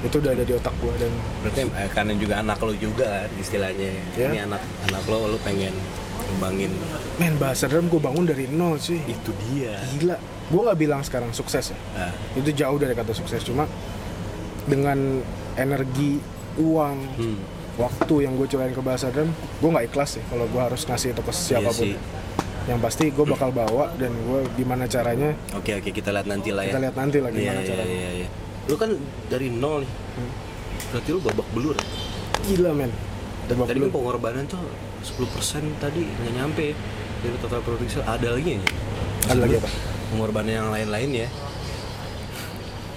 Speaker 2: Itu udah ada di otak gue dan
Speaker 1: berarti eh, karena juga anak lo juga kan istilahnya.
Speaker 2: Iya.
Speaker 1: Ini anak anak lo lo pengen kembangin
Speaker 2: men bahasa drum gue bangun dari nol sih.
Speaker 1: itu dia.
Speaker 2: Gila, gue nggak bilang sekarang sukses ya.
Speaker 1: Nah,
Speaker 2: Itu jauh dari kata sukses cuma dengan energi uang
Speaker 1: hmm.
Speaker 2: waktu yang gue curain ke bahasa drum gue nggak ikhlas sih kalau gue harus ngasih itu ke
Speaker 1: Iya
Speaker 2: siapapun
Speaker 1: sih.
Speaker 2: yang pasti gue bakal bawa dan gue gimana caranya
Speaker 1: Oke oke kita lihat nanti lah ya.
Speaker 2: kita lihat nanti lah
Speaker 1: Iya
Speaker 2: gimana
Speaker 1: iya
Speaker 2: caranya Hmm.
Speaker 1: iya. iya. Lo kan dari nol nih. Berarti lo babak belur. ya?
Speaker 2: gila men
Speaker 1: Dan
Speaker 2: Babak
Speaker 1: tadi kan
Speaker 2: belur.
Speaker 1: pengorbanan tuh 10% tadi nggak nyampe ya. dari total produksi ada lagi ya?
Speaker 2: Ada lagi
Speaker 1: Maksud
Speaker 2: apa?
Speaker 1: gua, Pengorbanan yang lain-lain ya.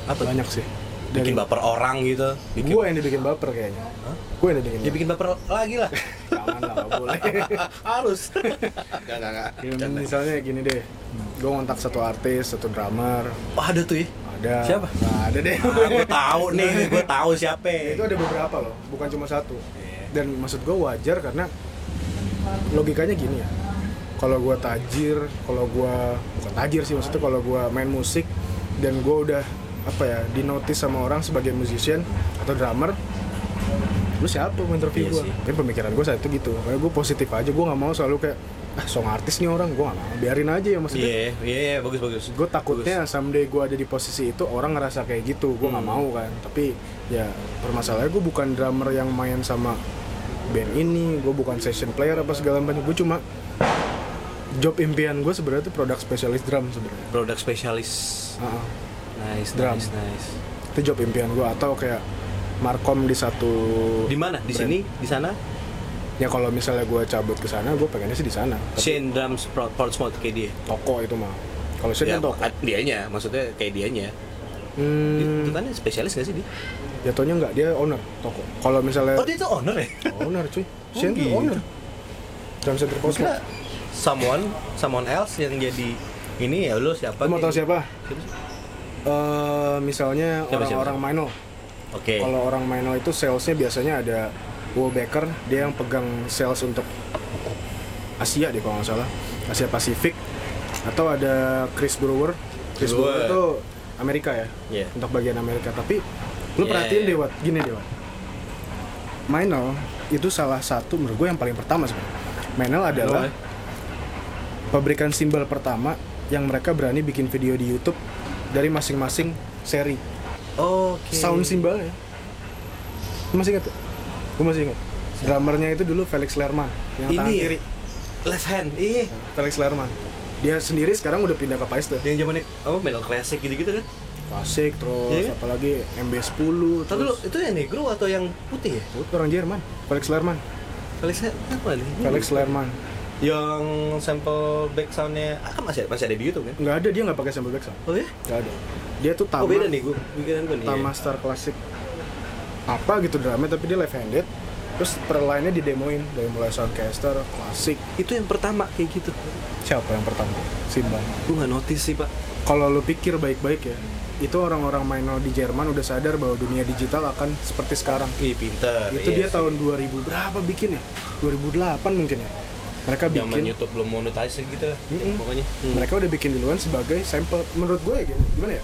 Speaker 1: Apa? tuh?
Speaker 2: banyak sih dari
Speaker 1: Bikin baper orang gitu. Bikin,
Speaker 2: gue yang dibikin baper kayaknya gue yang dibikin
Speaker 1: dia bikin baper lagi [LAUGHS] lah.
Speaker 2: baper. jangan lah nggak
Speaker 1: [LAUGHS]
Speaker 2: boleh
Speaker 1: Harus. Enggak enggak enggak.
Speaker 2: Ya,
Speaker 1: Bercanda.
Speaker 2: misalnya gini deh gue ngontak satu artis satu drummer
Speaker 1: Wah, ada tuh ya.
Speaker 2: ada
Speaker 1: Siapa?
Speaker 2: Nah, ada deh
Speaker 1: Ah, gue tahu nih, gue tahu siapa.
Speaker 2: Nah, itu ada beberapa loh bukan cuma satu
Speaker 1: Iya.
Speaker 2: dan maksud gue wajar karena logikanya gini ya kalau gue tajir kalau gue bukan tajir sih maksudnya kalau gue main musik dan gue udah apa ya dinotis sama orang sebagai musician atau drummer lu siapa mau interview
Speaker 1: Iya
Speaker 2: gue
Speaker 1: sih.
Speaker 2: tapi pemikiran gue saat itu gitu kayak gue positif aja gue nggak mau selalu kayak ah song artis nih orang gue nggak mau biarin aja ya maksudnya
Speaker 1: Iya, iya, iya, bagus bagus.
Speaker 2: gue takutnya someday gue ada di posisi itu orang ngerasa kayak gitu gue nggak
Speaker 1: Hmm.
Speaker 2: mau kan tapi ya permasalahannya gue bukan drummer yang main sama band ini gue bukan session player apa segala macam gue cuma job impian gue sebenarnya tuh produk spesialis drum sebenarnya
Speaker 1: produk spesialis.
Speaker 2: Ah, ah.
Speaker 1: Nice,
Speaker 2: Drum.
Speaker 1: nice, nice.
Speaker 2: itu job impian gue atau kayak markom di satu
Speaker 1: Di mana? Di
Speaker 2: brand.
Speaker 1: sini? Di sana?
Speaker 2: ya kalau misalnya gue cabut ke sana gue pengennya sih di sana Tapi
Speaker 1: Shane Drums Pro- Portsmouth kayak dia.
Speaker 2: toko itu mah kalau saya
Speaker 1: Ya,
Speaker 2: kan toko
Speaker 1: ad- dianya, maksudnya kayak dianya. Itu
Speaker 2: hmm,
Speaker 1: kan spesialis gak sih dia?
Speaker 2: jatuhnya nggak dia owner toko kalau misalnya
Speaker 1: Oh, dia tuh owner ya?
Speaker 2: owner cuy
Speaker 1: Oh,
Speaker 2: Shane tuh
Speaker 1: gitu.
Speaker 2: owner Drum Center Cosmo
Speaker 1: Kira someone, someone else yang jadi ini ya lu siapa?
Speaker 2: Lu mau
Speaker 1: nih?
Speaker 2: tahu siapa?
Speaker 1: Siapa sih?
Speaker 2: Eh, misalnya
Speaker 1: Siapa, siapa,
Speaker 2: orang-orang minor
Speaker 1: Oke.
Speaker 2: kalau orang minor itu salesnya biasanya ada Wallbacker dia yang pegang sales untuk Asia deh kalau nggak salah Asia Pasifik atau ada Chris Brewer Chris Brewer
Speaker 1: Brewer.
Speaker 2: itu Amerika ya
Speaker 1: Iya.
Speaker 2: untuk bagian Amerika tapi
Speaker 1: Iya,
Speaker 2: lu perhatiin
Speaker 1: iya.
Speaker 2: Dewa gini Dewa Minor itu salah satu menurut gue yang paling pertama sebenarnya Minor adalah
Speaker 1: Boleh.
Speaker 2: pabrikan simbal pertama yang mereka berani bikin video di YouTube dari masing-masing seri
Speaker 1: Oke.
Speaker 2: sound simbal ya Lu masih ingat gue masih ingat drummernya itu dulu Felix Lerman yang tangan
Speaker 1: ini ya?
Speaker 2: kiri
Speaker 1: left hand. Iya.
Speaker 2: Felix Lerman dia sendiri sekarang udah pindah ke Paiste
Speaker 1: Yang zamannya apa metal classic gitu-gitu kan?
Speaker 2: klasik terus
Speaker 1: Iya.
Speaker 2: apalagi MB10
Speaker 1: Tapi lu
Speaker 2: terus
Speaker 1: itu yang negro atau yang putih ya?
Speaker 2: Itu orang Jerman Felix Lerman
Speaker 1: Felix apa nih?
Speaker 2: Felix Lerman
Speaker 1: Yang sampel back soundnya ah, kan masih masih ada di YouTube kan?
Speaker 2: nggak ada dia nggak pakai sampel back sound
Speaker 1: Oh ya?
Speaker 2: nggak ada dia tuh
Speaker 1: Oh
Speaker 2: tamat
Speaker 1: beda nih Iya. gua pikiran gua nih. ya.
Speaker 2: Tama Star Classic apa gitu drama tapi dia left handed terus per line-nya didemoin dari mulai soundcaster klasik
Speaker 1: Itu yang pertama kayak gitu.
Speaker 2: siapa yang pertama Simbang
Speaker 1: Gua nggak notice sih pak.
Speaker 2: kalau lu pikir baik-baik ya itu orang-orang minor di Jerman udah sadar bahwa dunia digital akan seperti sekarang
Speaker 1: Ih pinter.
Speaker 2: itu
Speaker 1: iya
Speaker 2: dia tahun 2000 berapa bikin ya 2008 mungkin ya mereka bikin
Speaker 1: zaman YouTube belum monetized gitu lah,
Speaker 2: kan. Mm-mm.
Speaker 1: pokoknya
Speaker 2: mereka udah bikin duluan sebagai sampel menurut gue ya gini, gimana ya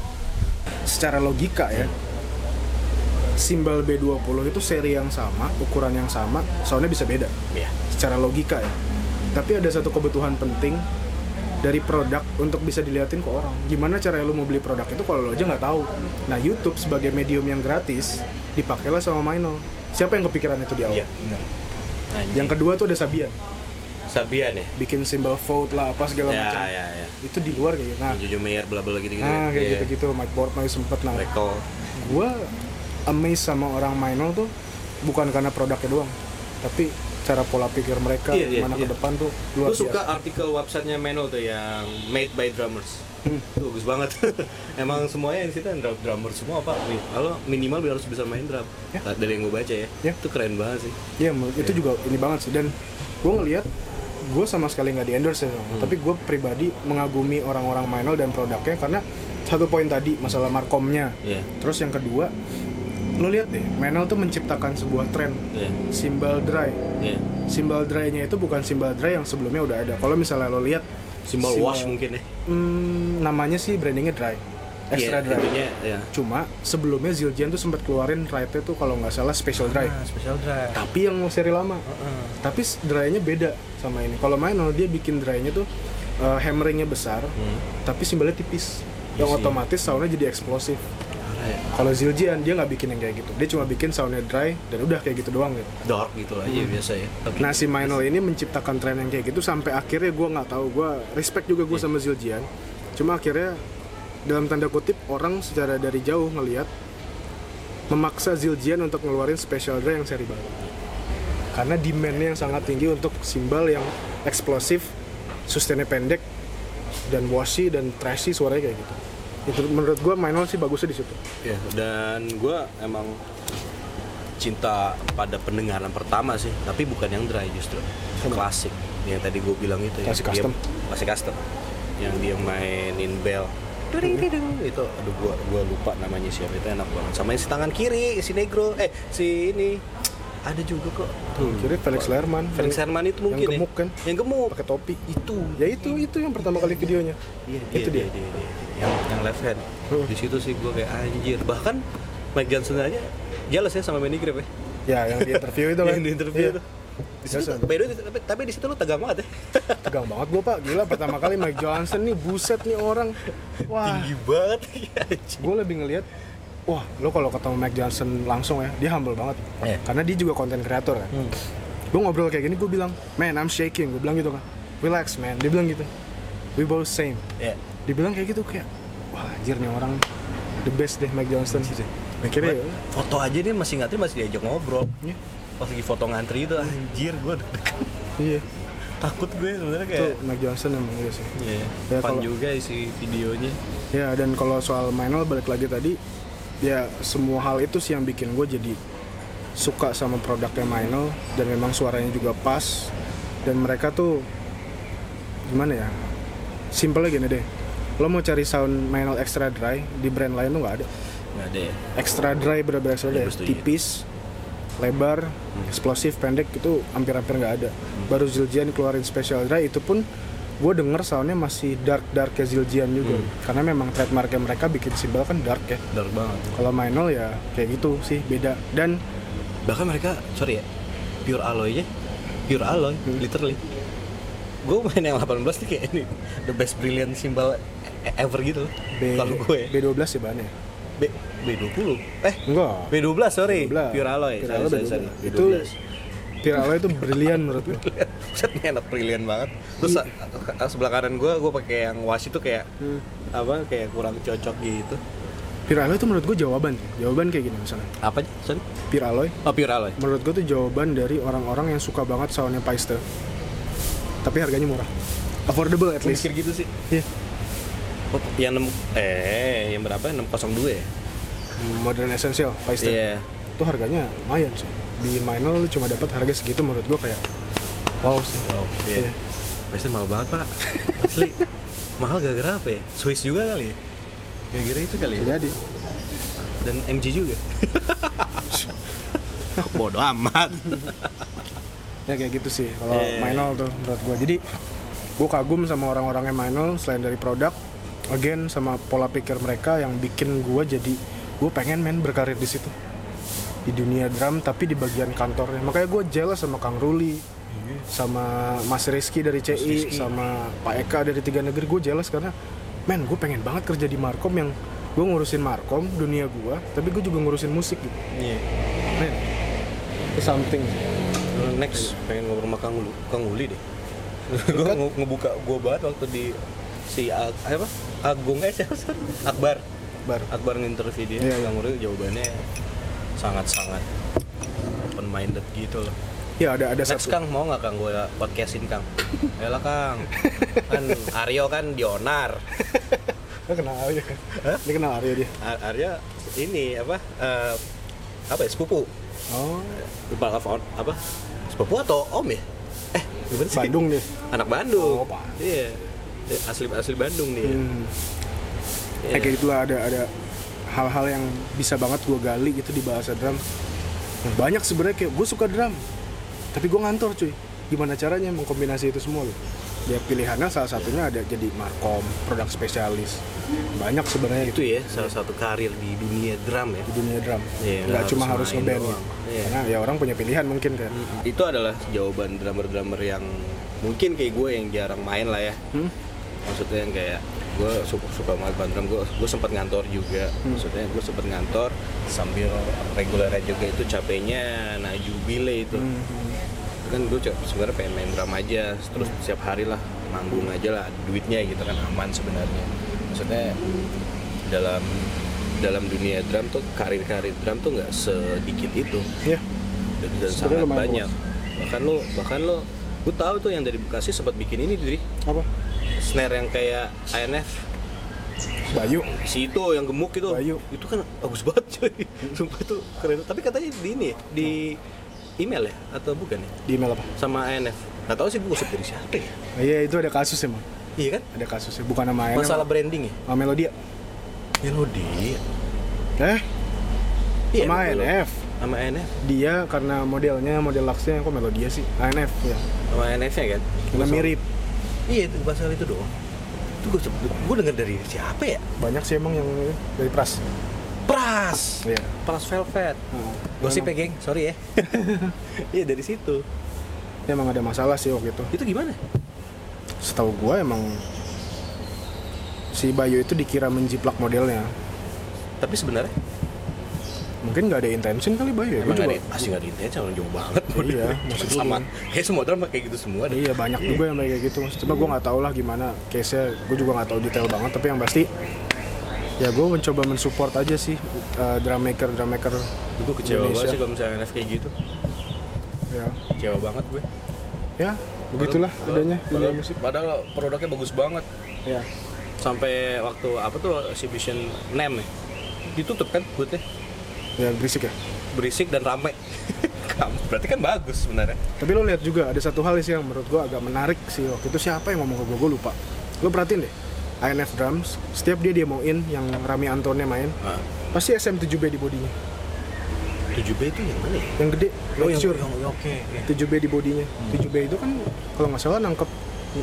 Speaker 2: secara logika ya simbal B20 itu seri yang sama ukuran yang sama soalnya bisa beda
Speaker 1: ya
Speaker 2: secara logika ya tapi ada satu kebutuhan penting dari produk untuk bisa diliatin ke orang gimana cara lu mau beli produk itu kalau lo aja nggak tahu nah YouTube sebagai medium yang gratis dipakailah sama Mino siapa yang kepikiran itu di awal
Speaker 1: Iya. Anjing.
Speaker 2: yang kedua tuh ada Sabian
Speaker 1: Sabian ya
Speaker 2: bikin simbol vote lah apa segala
Speaker 1: ya
Speaker 2: macam
Speaker 1: ya Iya, ya
Speaker 2: itu di luar kayak gitu nah,
Speaker 1: Jojo Mayer bla bla gitu gitu
Speaker 2: nah kayak gitu-gitu Mike Portnoy sempet nah
Speaker 1: Michael
Speaker 2: gue amazed sama orang Minol tuh bukan karena produknya doang tapi cara pola pikir mereka
Speaker 1: Iya, iya,
Speaker 2: gimana
Speaker 1: iya.
Speaker 2: ke depan tuh luar
Speaker 1: Gue
Speaker 2: biasa
Speaker 1: suka artikel websitenya Meno tuh yang made by drummers.
Speaker 2: Hmm.
Speaker 1: Itu bagus banget. [LAUGHS] Emang semuanya di situ yang drum drummer semua apa? Kalau minimal harus bisa main drum.
Speaker 2: Ya.
Speaker 1: Dari yang gue baca ya.
Speaker 2: Ya.
Speaker 1: Itu keren banget sih.
Speaker 2: Iya, menurut- itu juga ini banget sih. Dan gue ngelihat gue sama sekali nggak di endorse ya, tapi gue pribadi mengagumi orang-orang Minol dan produknya karena satu poin tadi masalah markomnya.
Speaker 1: Iya.
Speaker 2: Terus yang kedua, lo lihat deh, Minol tuh menciptakan sebuah tren
Speaker 1: Iya.
Speaker 2: simbal dry.
Speaker 1: Iya.
Speaker 2: Simbal dry-nya itu bukan simbal dry yang sebelumnya udah ada. Kalau misalnya lo lihat
Speaker 1: Simbol
Speaker 2: simbal-
Speaker 1: wash mungkin ya.
Speaker 2: Hmm, namanya sih brandingnya dry,
Speaker 1: Iya,
Speaker 2: extra dry.
Speaker 1: intinya, Iya.
Speaker 2: Cuma sebelumnya Zildjian tuh sempat keluarin right-nya tuh kalau nggak salah Nah, special dry.
Speaker 1: Ah.
Speaker 4: special drive.
Speaker 2: Tapi yang seri lama tapi s- dry-nya beda sama ini. Kalau Minol dia bikin dry-nya tuh uh, hammering-nya besar, tapi simbolnya tipis.
Speaker 1: Hmm.
Speaker 2: Yang
Speaker 1: Iya sih.
Speaker 2: otomatis sound-nya jadi eksplosif. Kalau Zildjian dia nggak bikin yang kayak gitu. Dia cuma bikin sound-nya dry dan udah kayak gitu doang gitu.
Speaker 1: Dark gitu aja biasa ya. Tapi
Speaker 2: Nah si Minol ini menciptakan tren yang kayak gitu sampai akhirnya gua nggak tahu. Gua respect juga
Speaker 1: Iya.
Speaker 2: gue sama Zildjian. Cuma akhirnya dalam tanda kutip orang secara dari jauh ngelihat memaksa Zildjian untuk ngeluarin special dry yang seri baru. Karena demand-nya yang sangat tinggi untuk simbal yang eksplosif, sustainnya pendek, dan washy dan trashy suaranya kayak gitu. Itu menurut gua Minol sih bagusnya di situ.
Speaker 1: ya, dan gue emang cinta pada pendengaran pertama sih, tapi bukan yang dry justru. Klasik. Yang tadi gue bilang itu ya.
Speaker 2: Klasik
Speaker 1: dia-
Speaker 2: custom.
Speaker 1: Klasik custom. Yang dia mainin bell. During, itu aduh gua gua lupa namanya siapa itu enak banget. Sama yang si tangan kiri, si negro, eh si ini ada juga kok. Tuh.
Speaker 2: Kira Felix Lerman.
Speaker 1: Felix
Speaker 2: yang-
Speaker 1: Herman itu
Speaker 2: Hmm. yang
Speaker 1: mungkin ya?
Speaker 2: gemuk kan?
Speaker 1: Yang gemuk.
Speaker 2: pakai topi.
Speaker 1: Itu.
Speaker 2: Ya itu itu yang pertama kali videonya.
Speaker 1: Iya,
Speaker 2: itu dia.
Speaker 1: Yang, yang left hand.
Speaker 2: Hmm.
Speaker 1: Di situ sih gua kayak anjir. Bahkan Mike Johnson aja jelas ya sama Manny Grip ya.
Speaker 2: Ya, yang di interview
Speaker 1: [LAUGHS]
Speaker 2: itu kan.
Speaker 1: Yang di interview
Speaker 2: Iya.
Speaker 1: tuh. Di situ,
Speaker 2: Biasa.
Speaker 1: by the way, tapi, tapi di situ lo tegang banget ya.
Speaker 2: Tegang banget gue pak, gila pertama kali Mike Johnson nih buset nih orang. Wah,
Speaker 1: Tinggi banget ya, anjir.
Speaker 2: gue lebih ngelihat Wah, lo kalau ketemu Mike Johnson langsung ya, dia humble banget.
Speaker 1: Iya. Hmm.
Speaker 2: Karena dia juga konten kreator kan. Gue ngobrol kayak gini, gue bilang, man, I'm shaking. Gue bilang gitu kan. Relax, man. Dia bilang gitu. We both same.
Speaker 1: Ya.
Speaker 2: Dibilang kayak gitu kayak, wah anjir nih orang the best deh Mike Johnson. Akhirnya ya,
Speaker 1: foto aja nih masih ngantri masih diajak ngobrol.
Speaker 2: Iya.
Speaker 1: Pas lagi foto ngantri itu anjir gue
Speaker 2: iya.
Speaker 1: takut gue sebenarnya
Speaker 2: Itu
Speaker 1: kayak.
Speaker 2: Mike Johnson emang iya sih.
Speaker 1: Iya.
Speaker 2: Ya,
Speaker 1: Fun
Speaker 2: kalau-
Speaker 1: juga isi videonya.
Speaker 2: Ya dan kalau soal Minol balik lagi tadi ya semua hal itu sih yang bikin gue jadi suka sama produknya Minol dan memang suaranya juga pas dan mereka tuh gimana ya simpelnya gini deh lo mau cari sound Minol extra dry di brand lain tuh nggak ada
Speaker 1: Nggak ada ya.
Speaker 2: extra dry bener-bener extra
Speaker 1: Ya,
Speaker 2: dry
Speaker 1: gue setuju.
Speaker 2: tipis lebar
Speaker 1: Hmm.
Speaker 2: eksplosif pendek itu hampir-hampir nggak ada baru Zildjian keluarin special dry itu pun gue denger soundnya masih dark dark ya Zildjian juga
Speaker 1: Hmm.
Speaker 2: karena memang trademarknya mereka bikin simbol kan dark ya
Speaker 1: Bener banget.
Speaker 2: kalau Minol ya kayak gitu sih beda dan
Speaker 1: bahkan mereka sorry ya pure alloy nya pure alloy literally gue main yang 18 nih kayak ini the best brilliant symbol e- ever gitu loh
Speaker 2: B
Speaker 1: kalau gue ya.
Speaker 2: B12 sih bahannya
Speaker 1: B B20 eh
Speaker 2: enggak
Speaker 1: B12 sorry
Speaker 2: B12.
Speaker 1: pure alloy
Speaker 2: Pure
Speaker 1: sorry,
Speaker 2: alloy
Speaker 1: ya? sorry,
Speaker 2: B12.
Speaker 1: sorry. B12
Speaker 2: Itu- Piralo itu brilian menurut gue
Speaker 3: [LAUGHS]
Speaker 1: Set nih enak brilliant banget. Terus sa-
Speaker 2: Iya.
Speaker 3: eh,
Speaker 1: ke- sebelah kanan gue, gue pakai yang washi itu kayak apa? Kayak kurang cocok gitu.
Speaker 2: Piralo itu menurut gue jawaban jawaban kayak gini misalnya
Speaker 1: Apa? Sorry.
Speaker 2: Piralo
Speaker 1: Oh, pure alloy.
Speaker 2: menurut gue tuh jawaban dari orang-orang yang suka banget soundnya Paiste tapi harganya murah affordable at least
Speaker 1: Mikir gitu sih.
Speaker 2: Iya.
Speaker 1: Oh, yang enam eh yang berapa? 602 ya?
Speaker 2: modern essential Paiste
Speaker 1: Iya.
Speaker 2: itu harganya lumayan sih di Minol lu cuma dapat harga segitu menurut gue kayak wow sih
Speaker 1: Wow, iya.
Speaker 2: Iya.
Speaker 1: Pasti mahal banget pak. Asli mahal gara-gara apa ya? Swiss juga kali ya? Gara-gara itu kali ya?
Speaker 2: jadi
Speaker 1: Dan MG
Speaker 2: [LAUGHS]
Speaker 1: juga. Bodoh amat.
Speaker 2: ya kayak gitu sih kalau
Speaker 1: Iya, iya, iya.
Speaker 2: Minol tuh menurut gue jadi gue kagum sama orang-orangnya Minol selain dari produk again sama pola pikir mereka yang bikin gue jadi gue pengen main berkarir di situ di dunia drum tapi di bagian kantornya makanya gue jelas sama Kang Ruli sama Mas Rizky dari CI
Speaker 1: Iya. Rizky.
Speaker 2: sama Pak Eka dari Tiga Negeri gue jelas karena men gue pengen banget kerja di Markom yang gue ngurusin Markom dunia gue tapi gue juga ngurusin musik gitu
Speaker 1: Iya.
Speaker 2: men itu something
Speaker 1: Next pengen ngobrol sama Kang Uli, Kang Uli deh.
Speaker 3: gue ngebuka gue banget waktu di si Ag- apa Agung eh siapa sih? Akbar
Speaker 2: Akbar.
Speaker 3: Akbar nginterview dia
Speaker 2: Iya, iya.
Speaker 3: Kang Uri jawabannya sangat sangat open minded gitu loh
Speaker 2: Ya ada ada satu.
Speaker 3: Next Kang mau nggak Kang gue podcastin Kang? Yalah Kang, kan Aryo kan Dionar,
Speaker 2: Lo kenal Aryo kan? Ini kenal Aryo dia.
Speaker 3: Ar- Aryo ini apa eh, apa ya sepupu,
Speaker 2: Oh.
Speaker 3: lupa apa apa sepupu atau om ya? Eh gimana sih?
Speaker 2: Bandung nih.
Speaker 3: anak Bandung.
Speaker 2: Oh, Pak.
Speaker 3: Iya. Asli asli Bandung nih. ya.
Speaker 2: Hmm.
Speaker 3: Iya.
Speaker 2: Ya, kayak gitulah ada ada hal-hal yang bisa banget gue gali gitu di bahasa drum. Nah, banyak sebenarnya kayak gue suka drum, tapi gue ngantor cuy. Gimana caranya mengkombinasi itu semua loh? Ya pilihannya salah satunya ada jadi markom, produk spesialis. Banyak sebenarnya
Speaker 3: Itu
Speaker 2: itu
Speaker 3: ya salah satu karir di dunia drum ya.
Speaker 2: di dunia drum. Nggak
Speaker 3: Iya, nggak
Speaker 2: cuma
Speaker 3: harus
Speaker 2: harus
Speaker 3: main
Speaker 2: ngeband.
Speaker 3: doang. Iya.
Speaker 2: Karena ya orang punya pilihan mungkin kan.
Speaker 3: Hmm, Itu adalah jawaban drummer-drummer yang mungkin kayak gue yang jarang main lah ya.
Speaker 2: "Hmm,
Speaker 3: Maksudnya yang kayak gue suka, suka banget main drum, gue, gue sempat ngantor juga.
Speaker 2: Hmm.
Speaker 3: Maksudnya gue sempat ngantor sambil reguler juga itu capeknya nah jubile itu.
Speaker 2: Hmm.
Speaker 3: kan gue co- sebenarnya pengen main drum aja terus setiap hari lah manggung aja lah duitnya gitu kan aman sebenarnya maksudnya dalam dalam dunia drum tuh karir-karir drum tuh nggak sedikit itu
Speaker 2: Iya.
Speaker 3: dan, dan
Speaker 2: Sebenarnya
Speaker 3: sangat
Speaker 2: lumayan
Speaker 3: banyak bahkan lo bahkan lo gue tahu tuh yang dari Bekasi sempat bikin ini diri
Speaker 2: Apa?
Speaker 3: snare yang kayak INF
Speaker 2: Bayu.
Speaker 3: si itu yang gemuk itu
Speaker 2: Bayu.
Speaker 3: itu kan bagus banget cuy sumpah itu keren tapi katanya di ini ya, di email ya atau bukan ya
Speaker 2: Di email apa?
Speaker 3: sama INF nggak tahu sih gue gosip dari siapa ya
Speaker 2: Ah, Iya itu ada kasus emang.
Speaker 3: iya kan
Speaker 2: Ada kasusnya bukan sama Ayana,
Speaker 3: masalah branding ya
Speaker 2: sama Melodia. Ya,
Speaker 3: melodi
Speaker 2: Eh? Sama
Speaker 3: Melodi.
Speaker 2: INF.
Speaker 3: sama INF
Speaker 2: dia karena modelnya model luxnya kok melodia sih ANF ya
Speaker 3: sama INF nya kan
Speaker 2: karena mirip
Speaker 3: iya itu masalah itu doang itu gue gue denger dari siapa ya
Speaker 2: banyak sih emang yang dari pras
Speaker 3: Pras
Speaker 2: Iya. Nah,
Speaker 3: Pras Velvet Gosip ya geng, sorry ya [LAUGHS] Iya dari situ
Speaker 2: Dia emang ada masalah sih waktu itu
Speaker 3: Itu gimana?
Speaker 2: setahu gua emang si Bayu itu dikira menjiplak modelnya
Speaker 3: Tapi sebenarnya
Speaker 2: mungkin nggak ada intention kali Bayu ya gua
Speaker 3: Emang
Speaker 2: juga
Speaker 3: ada, pasti gak ada intensi, orang jauh banget
Speaker 2: Iya, maksud gue.
Speaker 3: Sama, kayak semua drama kayak gitu semua deh
Speaker 2: iya banyak juga yang kayak gitu Mas. coba gua nggak tahu lah gimana case nya gua juga nggak tahu detail banget tapi yang pasti ya gua mencoba mensupport aja sih eh, drum maker drum maker
Speaker 3: Gue kecewa banget
Speaker 2: Indonesia.
Speaker 3: sih kalau misalnya NF kayak gitu
Speaker 2: ya
Speaker 3: Kecewa banget gue
Speaker 2: ya begitulah
Speaker 3: Padahal-
Speaker 2: adanya dunia
Speaker 3: padahal,
Speaker 2: musik
Speaker 3: padahal produknya bagus banget
Speaker 2: ya
Speaker 3: Sampai waktu apa tuh exhibition NEM ya Ditutup kan buatnya
Speaker 2: ya berisik ya
Speaker 3: Berisik dan rame [LAUGHS] Kamu- Berarti kan bagus sebenarnya
Speaker 2: Tapi lo lihat juga ada satu hal sih yang menurut gua agak menarik sih waktu itu siapa yang ngomong ke gua gua lupa. Lo perhatiin deh, INF Drums setiap dia demoin yang Rami Antonnya main, pasti SM7B di bodinya,
Speaker 3: 7B itu yang mana ya?
Speaker 2: yang gede,
Speaker 3: Sure.
Speaker 1: Oh,
Speaker 2: texture.
Speaker 3: Oh, oke
Speaker 2: 7B di bodinya, 7B itu kan kalau nggak salah nangkep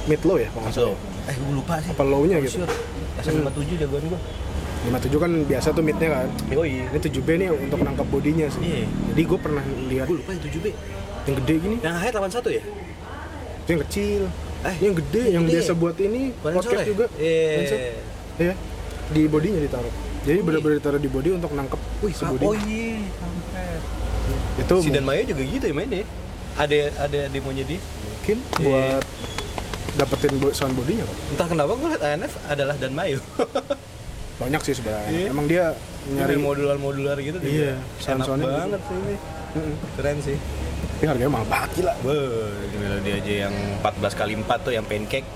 Speaker 2: mid low ya, kalau nggak salah.
Speaker 3: So, eh gue lupa sih
Speaker 2: Apa low-nya gitu.
Speaker 3: Oh, Sure. SM57 jagoan gua.
Speaker 2: 57 kan biasa tuh midnya kan.
Speaker 3: Yoi.
Speaker 2: Ini 7B nih untuk nangkep bodinya sih.
Speaker 3: Oh, Iya.
Speaker 2: Jadi gua pernah lihat
Speaker 3: Gue lupa yang 7B.
Speaker 2: yang gede gini,
Speaker 3: Yang height 81 ya?
Speaker 2: itu yang kecil,
Speaker 3: Eh,
Speaker 2: yang gede, yang
Speaker 3: gede.
Speaker 2: biasa buat ini
Speaker 3: Kemarin
Speaker 2: podcast
Speaker 3: sore?
Speaker 2: juga.
Speaker 3: Iya. iya.
Speaker 2: Kemarin sore. Iya. Di bodinya ditaruh. Jadi benar-benar ditaruh di body untuk nangkep wih sebody.
Speaker 3: Oh iya, kampret.
Speaker 2: Itu
Speaker 3: Si Dan Maya juga gitu ya mainnya. ya? Ada ada demonya dia.
Speaker 2: mungkin
Speaker 3: Iya.
Speaker 2: buat dapetin bo- sound bodinya kok.
Speaker 3: Entah kenapa gue liat ANF adalah Dan
Speaker 1: [LAUGHS]
Speaker 3: Mayu.
Speaker 2: Banyak sih sebenarnya.
Speaker 3: Iya.
Speaker 2: Emang dia nyari
Speaker 3: Nyari modular-modular gitu
Speaker 2: Iya,
Speaker 3: Dia. Enak
Speaker 2: sound-soundnya gitu.
Speaker 3: banget sih ini.
Speaker 2: Mm-mm.
Speaker 3: Keren sih.
Speaker 2: Tapi harganya mahal banget gila.
Speaker 3: Wah, di melodi aja yang 14 kali 4 tuh yang pancake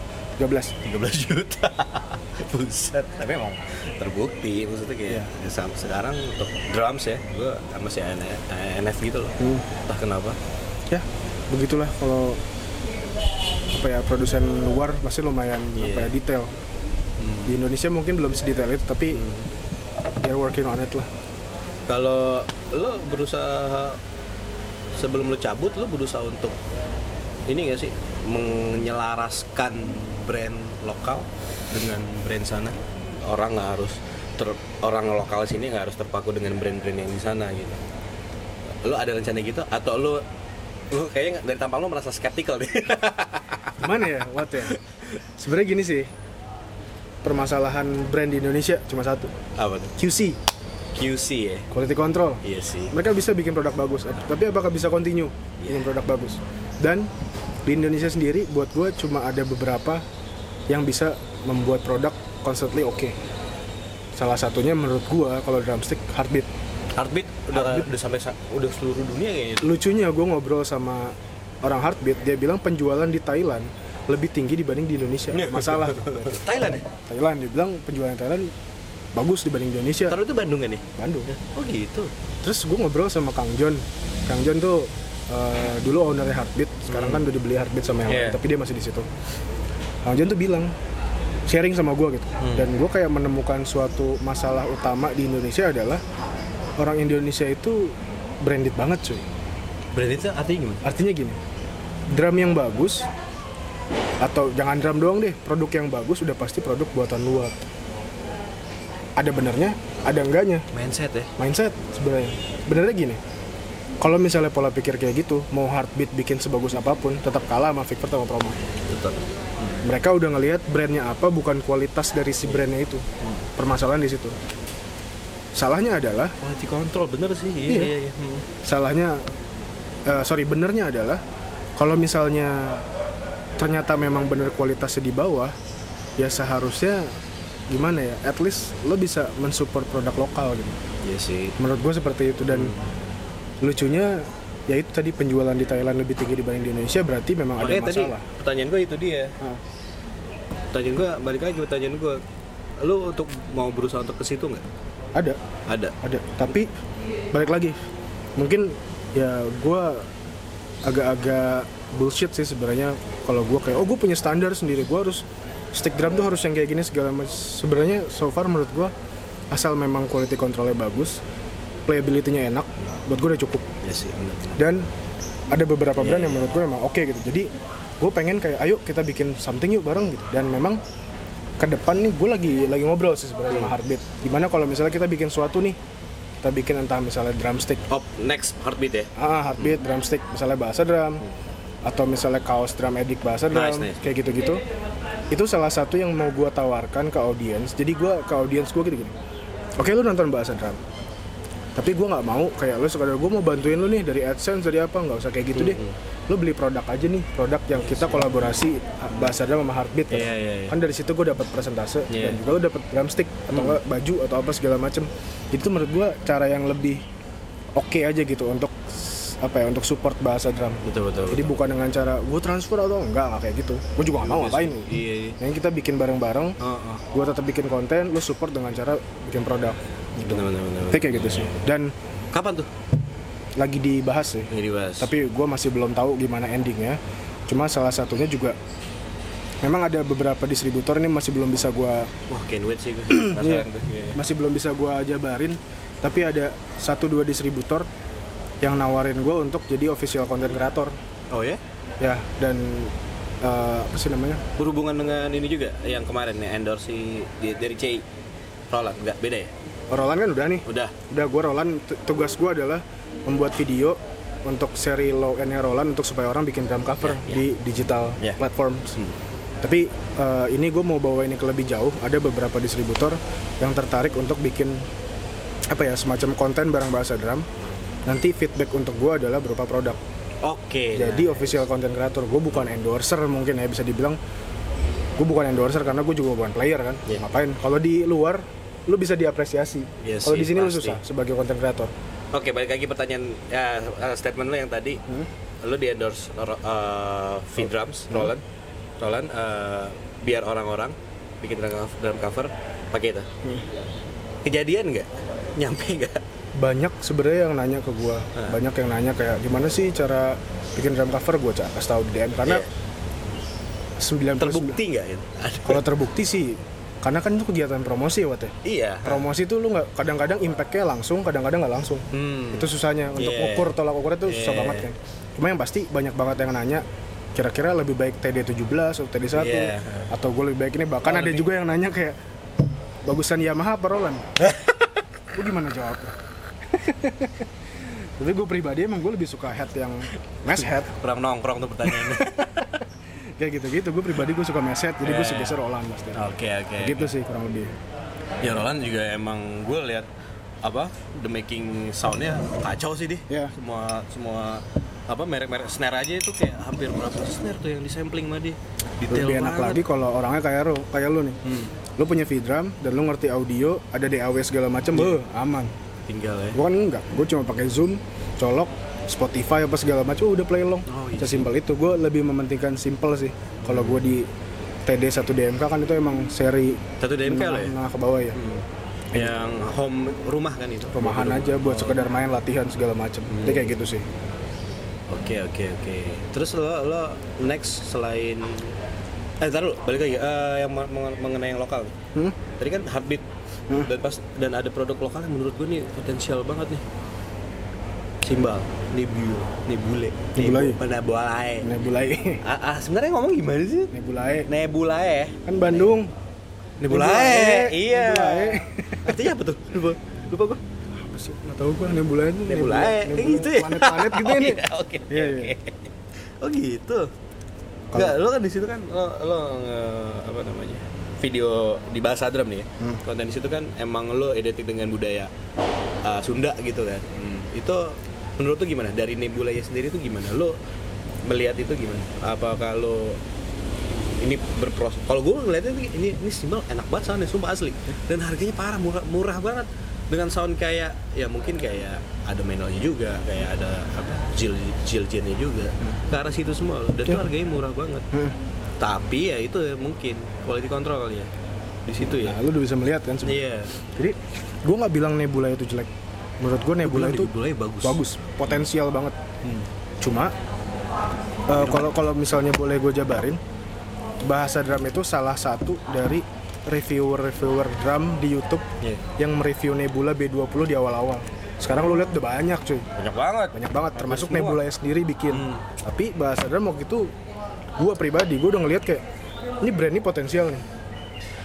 Speaker 2: 13.
Speaker 3: 13 juta. [LAUGHS] Buset, tapi emang terbukti maksudnya kayak ya, sam- sekarang untuk drums ya, gue sama si ANF, ANF gitu loh.
Speaker 2: Hmm.
Speaker 3: Entah kenapa.
Speaker 2: Ya, begitulah kalau apa ya produsen luar masih lumayan apa ya,
Speaker 3: Iya.
Speaker 2: detail. Di Indonesia mungkin belum sedetail itu tapi they're working on it lah.
Speaker 3: Kalau lo berusaha sebelum lo cabut, lo berusaha untuk ini gak sih menyelaraskan brand lokal dengan brand sana. Orang nggak harus ter- orang lokal sini nggak harus terpaku dengan brand-brand yang di sana gitu. Lo ada rencana gitu atau lo lo kayaknya nggak- dari tampang lo merasa skeptikal deh.
Speaker 2: Gimana ya, what ya? Sebenarnya gini sih, permasalahan brand di Indonesia cuma satu,
Speaker 3: [LAUGHS] Apa tuh?
Speaker 2: QC,
Speaker 3: QC ya?
Speaker 2: quality control.
Speaker 3: Iya sih.
Speaker 2: Mereka bisa bikin produk bagus, tapi apakah bisa continue bikin produk bagus? Dan di Indonesia sendiri buat gue cuma ada beberapa yang bisa membuat produk constantly oke salah satunya menurut gue kalau drumstick heartbeat
Speaker 1: Heartbeat udah udah sampai sa- udah seluruh dunia kayaknya.
Speaker 2: lucunya gue ngobrol sama orang heartbeat dia bilang penjualan di Thailand lebih tinggi dibanding di Indonesia masalah
Speaker 1: Thailand ya?
Speaker 2: Thailand dia bilang penjualan Thailand bagus dibanding Indonesia
Speaker 1: Taruh itu Bandung kan nih?
Speaker 2: Bandung
Speaker 1: Oh gitu.
Speaker 2: terus gue ngobrol sama Kang John Kang John tuh eh, dulu ownernya Heartbeat sekarang kan udah dibeli Heartbeat sama yang lain,
Speaker 1: Yeah.
Speaker 2: tapi dia masih di situ Kang John tuh bilang sharing sama gue gitu dan gue kayak menemukan suatu masalah utama di Indonesia adalah orang Indonesia itu branded banget cuy
Speaker 1: Berarti itu artinya gimana?
Speaker 2: artinya gini drum yang bagus atau jangan drum doang deh produk yang bagus udah pasti produk buatan luar ada benernya ada enggaknya
Speaker 1: Mindset ya.
Speaker 2: mindset sebenarnya. Sebenarnya gini, kalau misalnya pola pikir kayak gitu, mau heartbeat bikin sebagus apapun, tetap kalah sama Victor sama Promo.
Speaker 1: Tetap.
Speaker 2: Mereka udah ngelihat brandnya apa, bukan kualitas dari si brandnya itu. Permasalahan di situ. Salahnya adalah,
Speaker 1: Quality control bener sih.
Speaker 2: Iya.
Speaker 1: iya, iya. Hmm.
Speaker 2: salahnya, eh, sorry, benernya adalah, kalau misalnya ternyata memang bener kualitasnya di bawah, ya seharusnya gimana ya, at least lo bisa mensupport produk lokal gitu.
Speaker 1: Iya sih.
Speaker 2: menurut gue seperti itu dan lucunya ya itu tadi penjualan di Thailand lebih tinggi dibanding di Indonesia berarti memang ada
Speaker 1: Makanya tadi
Speaker 2: masalah
Speaker 1: pertanyaan gue itu dia.
Speaker 2: Ah,
Speaker 1: Pertanyaan gue balik lagi pertanyaan gue. Lu untuk mau berusaha untuk ke situ nggak?
Speaker 2: ada
Speaker 1: Ada.
Speaker 2: ada tapi balik lagi mungkin ya gue agak-agak bullshit sih sebenarnya kalau gue kayak oh gue punya standar sendiri gue harus stick drum tuh harus yang kayak gini segala macam sebenarnya so far menurut gue asal memang quality controlnya bagus playability-nya enak buat gue udah cukup
Speaker 1: Iya sih. bener.
Speaker 2: dan ada beberapa brand yang menurut gue memang oke gitu jadi gue pengen kayak ayo kita bikin something yuk bareng gitu dan memang ke depan nih gue lagi lagi ngobrol sih sebenarnya sama Heartbeat gimana kalau misalnya kita bikin suatu nih kita bikin entah misalnya drumstick
Speaker 1: Op next heartbeat ya.
Speaker 2: ah heartbeat drumstick misalnya bahasa drum atau misalnya kaos drum edik bahasa drum
Speaker 1: Nice, nice.
Speaker 2: kayak gitu-gitu itu salah satu yang mau gue tawarkan ke audiens jadi gue ke audiens gue gitu-gitu oke lu nonton bahasa drum tapi gue nggak mau kayak lu sekadar gue mau bantuin lu nih dari adsense dari apa nggak usah kayak gitu deh
Speaker 1: Mm-hmm.
Speaker 2: lu beli produk aja nih produk yang kita kolaborasi ah, bahasa drum sama heartbeat kan,
Speaker 1: Iya, iya, iya.
Speaker 2: kan dari situ gue dapat
Speaker 1: Iya.
Speaker 2: presentase
Speaker 1: Mm.
Speaker 2: dan juga lu dapat drumstick atau nggak baju atau apa segala macem itu menurut gue cara yang lebih oke aja gitu untuk s- apa ya untuk support bahasa drum
Speaker 1: Betul betul.
Speaker 2: jadi bukan dengan cara gue transfer atau enggak nggak kayak gitu gue juga nggak mau ngapain lu.
Speaker 1: Iya iya.
Speaker 2: Yang kita bikin bareng-bareng
Speaker 1: Oh, oh.
Speaker 2: gue tetap bikin konten lu support dengan cara bikin produk
Speaker 1: Bener bener bener.
Speaker 2: Tapi kayak gitu sih dan
Speaker 1: Kapan tuh?
Speaker 2: lagi dibahas sih
Speaker 1: Ini dibahas.
Speaker 2: tapi gue masih belum tahu gimana endingnya cuma salah satunya juga memang ada beberapa distributor nih masih belum bisa gua
Speaker 1: wah can't wait
Speaker 2: [CLEARS THROAT]
Speaker 1: sih gue.
Speaker 2: Iya.
Speaker 1: Penasaran tuh. Iya, iya.
Speaker 2: masih belum bisa gua jabarin tapi ada satu dua distributor yang nawarin gue untuk jadi official content creator
Speaker 1: Oh ya?
Speaker 2: ya dan eh, apa sih namanya
Speaker 1: Berhubungan dengan ini juga yang kemarin ya endorse si di- dari CI. Roland enggak beda ya?
Speaker 2: Roland kan udah nih
Speaker 1: Udah.
Speaker 2: udah gue Roland tu- tugas gue adalah membuat video untuk seri low end Roland untuk supaya orang bikin drum cover di digital
Speaker 1: Ya.
Speaker 2: platform tapi eh, ini gue mau bawa ini ke lebih jauh ada beberapa distributor yang tertarik untuk bikin apa ya semacam konten barang bahasa drum nanti feedback untuk gue adalah berupa produk
Speaker 1: Oke.
Speaker 2: jadi official content creator gue bukan endorser mungkin ya bisa dibilang gue bukan endorser karena gue juga bukan player kan
Speaker 1: Iya.
Speaker 2: ngapain kalau di luar lu bisa diapresiasi
Speaker 1: Iya
Speaker 2: kalau
Speaker 1: sih,
Speaker 2: di sini lu
Speaker 1: pasti.
Speaker 2: susah sebagai content creator
Speaker 1: Oke, balik lagi pertanyaan ya, eh, statement lo yang tadi. Lo di endorse uh, V Drums Roland. Roland eh, biar orang-orang bikin drum cover, drum cover pakai itu. Kejadian nggak? Nyampe nggak?
Speaker 2: banyak sebenarnya yang nanya ke gue
Speaker 1: Ah.
Speaker 2: banyak yang nanya kayak gimana sih cara bikin drum cover gue cak kasih tahu di DM karena
Speaker 1: Iya.
Speaker 2: 99
Speaker 1: Terbukti nggak? itu? Ada.
Speaker 2: kalau terbukti sih karena kan itu kegiatan promosi ya Wat, ya.
Speaker 1: Iya.
Speaker 2: promosi itu lu nggak kadang-kadang impactnya langsung kadang-kadang nggak langsung
Speaker 1: Hmm.
Speaker 2: itu susahnya untuk
Speaker 1: Yeah.
Speaker 2: ukur tolak ukurnya itu susah
Speaker 1: Yeah.
Speaker 2: banget kan cuma yang pasti banyak banget yang nanya kira-kira lebih baik TD17 atau TD1
Speaker 1: Yeah.
Speaker 2: atau gue lebih baik ini bahkan ada juga yang nanya kayak bagusan Yamaha apa
Speaker 1: [LAUGHS]
Speaker 2: Roland gue gimana jawabnya tapi gue pribadi emang gue lebih suka head yang mesh head
Speaker 1: Kurang nongkrong tuh pertanyaannya.
Speaker 2: kayak gitu-gitu gue pribadi gue suka mesh head jadi gue
Speaker 1: Yeah.
Speaker 2: segeser Roland pasti
Speaker 1: Oke oke.
Speaker 2: gitu sih kurang lebih
Speaker 1: Ya Roland juga emang gue lihat apa the making soundnya kacau sih deh.
Speaker 2: Iya.
Speaker 1: Semua semua apa merek-merek snare aja itu kayak hampir berapa snare tuh yang disampling sama dia. Detail
Speaker 2: lebih enak
Speaker 1: banget. Hmm.
Speaker 2: lagi kalau orangnya kayak lo kayak lo nih lo punya V-Drum dan lo ngerti audio ada DAW segala macam
Speaker 1: Iya.
Speaker 2: beuh, aman
Speaker 1: Tinggal ya.
Speaker 2: gue kan enggak gue cuma pakai zoom colok Spotify apa segala macam udah play long
Speaker 1: Oh, iya.
Speaker 2: sesimpel itu gue lebih mementingkan simple sih kalau gue di TD 1 DMK kan itu emang seri
Speaker 1: Satu DMK
Speaker 2: menengah-
Speaker 1: lah ya.
Speaker 2: menengah ke bawah ya
Speaker 1: Yang home rumah kan itu.
Speaker 2: rumahan aja buat sekedar main latihan segala macam
Speaker 1: Hmm.
Speaker 2: jadi kayak gitu sih
Speaker 1: Oke oke oke. Terus lo lo next selain eh taruh balik lagi Eh, yang men- men- mengenai yang lokal.
Speaker 2: Hmm?
Speaker 1: Tadi kan heartbeat dan pas dan ada produk lokal yang menurut gue nih potensial banget nih. Simbal, Nebula, Nebule,
Speaker 2: Nebulae.
Speaker 1: Nebu- Nebulae.
Speaker 2: [LAUGHS] Nebulae
Speaker 1: Ah, ah, sebenarnya ngomong gimana sih?
Speaker 2: Nebulae
Speaker 1: Nebulae.
Speaker 2: kan Bandung
Speaker 1: Nebulae.
Speaker 2: Nebulae.
Speaker 1: Iya.
Speaker 2: Nebulae.
Speaker 1: Artinya apa tuh? Lupa, lupa gue.
Speaker 2: apa sih nggak tahu gue Nebulae itu
Speaker 1: Nebulae. Eh, gitu ya.
Speaker 2: planet-planet gitu
Speaker 1: Oh,
Speaker 2: ya nih
Speaker 1: iya, [LAUGHS] Oke. oke,
Speaker 2: Iya,
Speaker 1: oke.
Speaker 2: iya.
Speaker 1: Oh gitu.
Speaker 2: Kalau-
Speaker 1: Enggak, lo kan di situ kan lo lo nge- apa namanya? Video di bahasa drum nih ya. Konten di situ kan emang lo identik dengan budaya uh, Sunda gitu kan. Itu menurut lo gimana? Dari Nebulanya sendiri itu gimana? Lo melihat itu gimana? Apa kalau ini berproses kalau gue ngeliatnya ini ini, ini simbol enak banget soundnya sumpah asli dan harganya parah murah murah banget dengan sound kayak ya mungkin kayak ada manualnya juga kayak ada apa jil jiljennya juga ke arah situ semua loh. dan
Speaker 2: Iya.
Speaker 1: itu harganya murah banget
Speaker 2: Hmm.
Speaker 1: tapi ya itu ya mungkin quality control kali ya di situ ya
Speaker 2: nah lu udah bisa melihat kan
Speaker 1: iya
Speaker 2: sebenarnya jadi gue nggak bilang Nebulae itu jelek menurut gue
Speaker 1: bulan
Speaker 2: Nebulae
Speaker 1: itu
Speaker 2: itu
Speaker 1: bulannya bagus
Speaker 2: bagus potensial banget
Speaker 1: Hmm.
Speaker 2: cuma eh, kalau kalau misalnya boleh gue jabarin bahasa drum itu salah satu dari reviewer-reviewer drum di YouTube
Speaker 1: Iya.
Speaker 2: yang mereview Nebula B20 di awal-awal. Sekarang lu lihat udah banyak cuy,
Speaker 1: banyak banget
Speaker 2: banyak banget termasuk
Speaker 1: semua.
Speaker 2: Nebula sendiri bikin.
Speaker 1: Hmm.
Speaker 2: Tapi bahasa drum waktu itu gue pribadi gue udah ngeliat kayak ini brand ini potensial nih.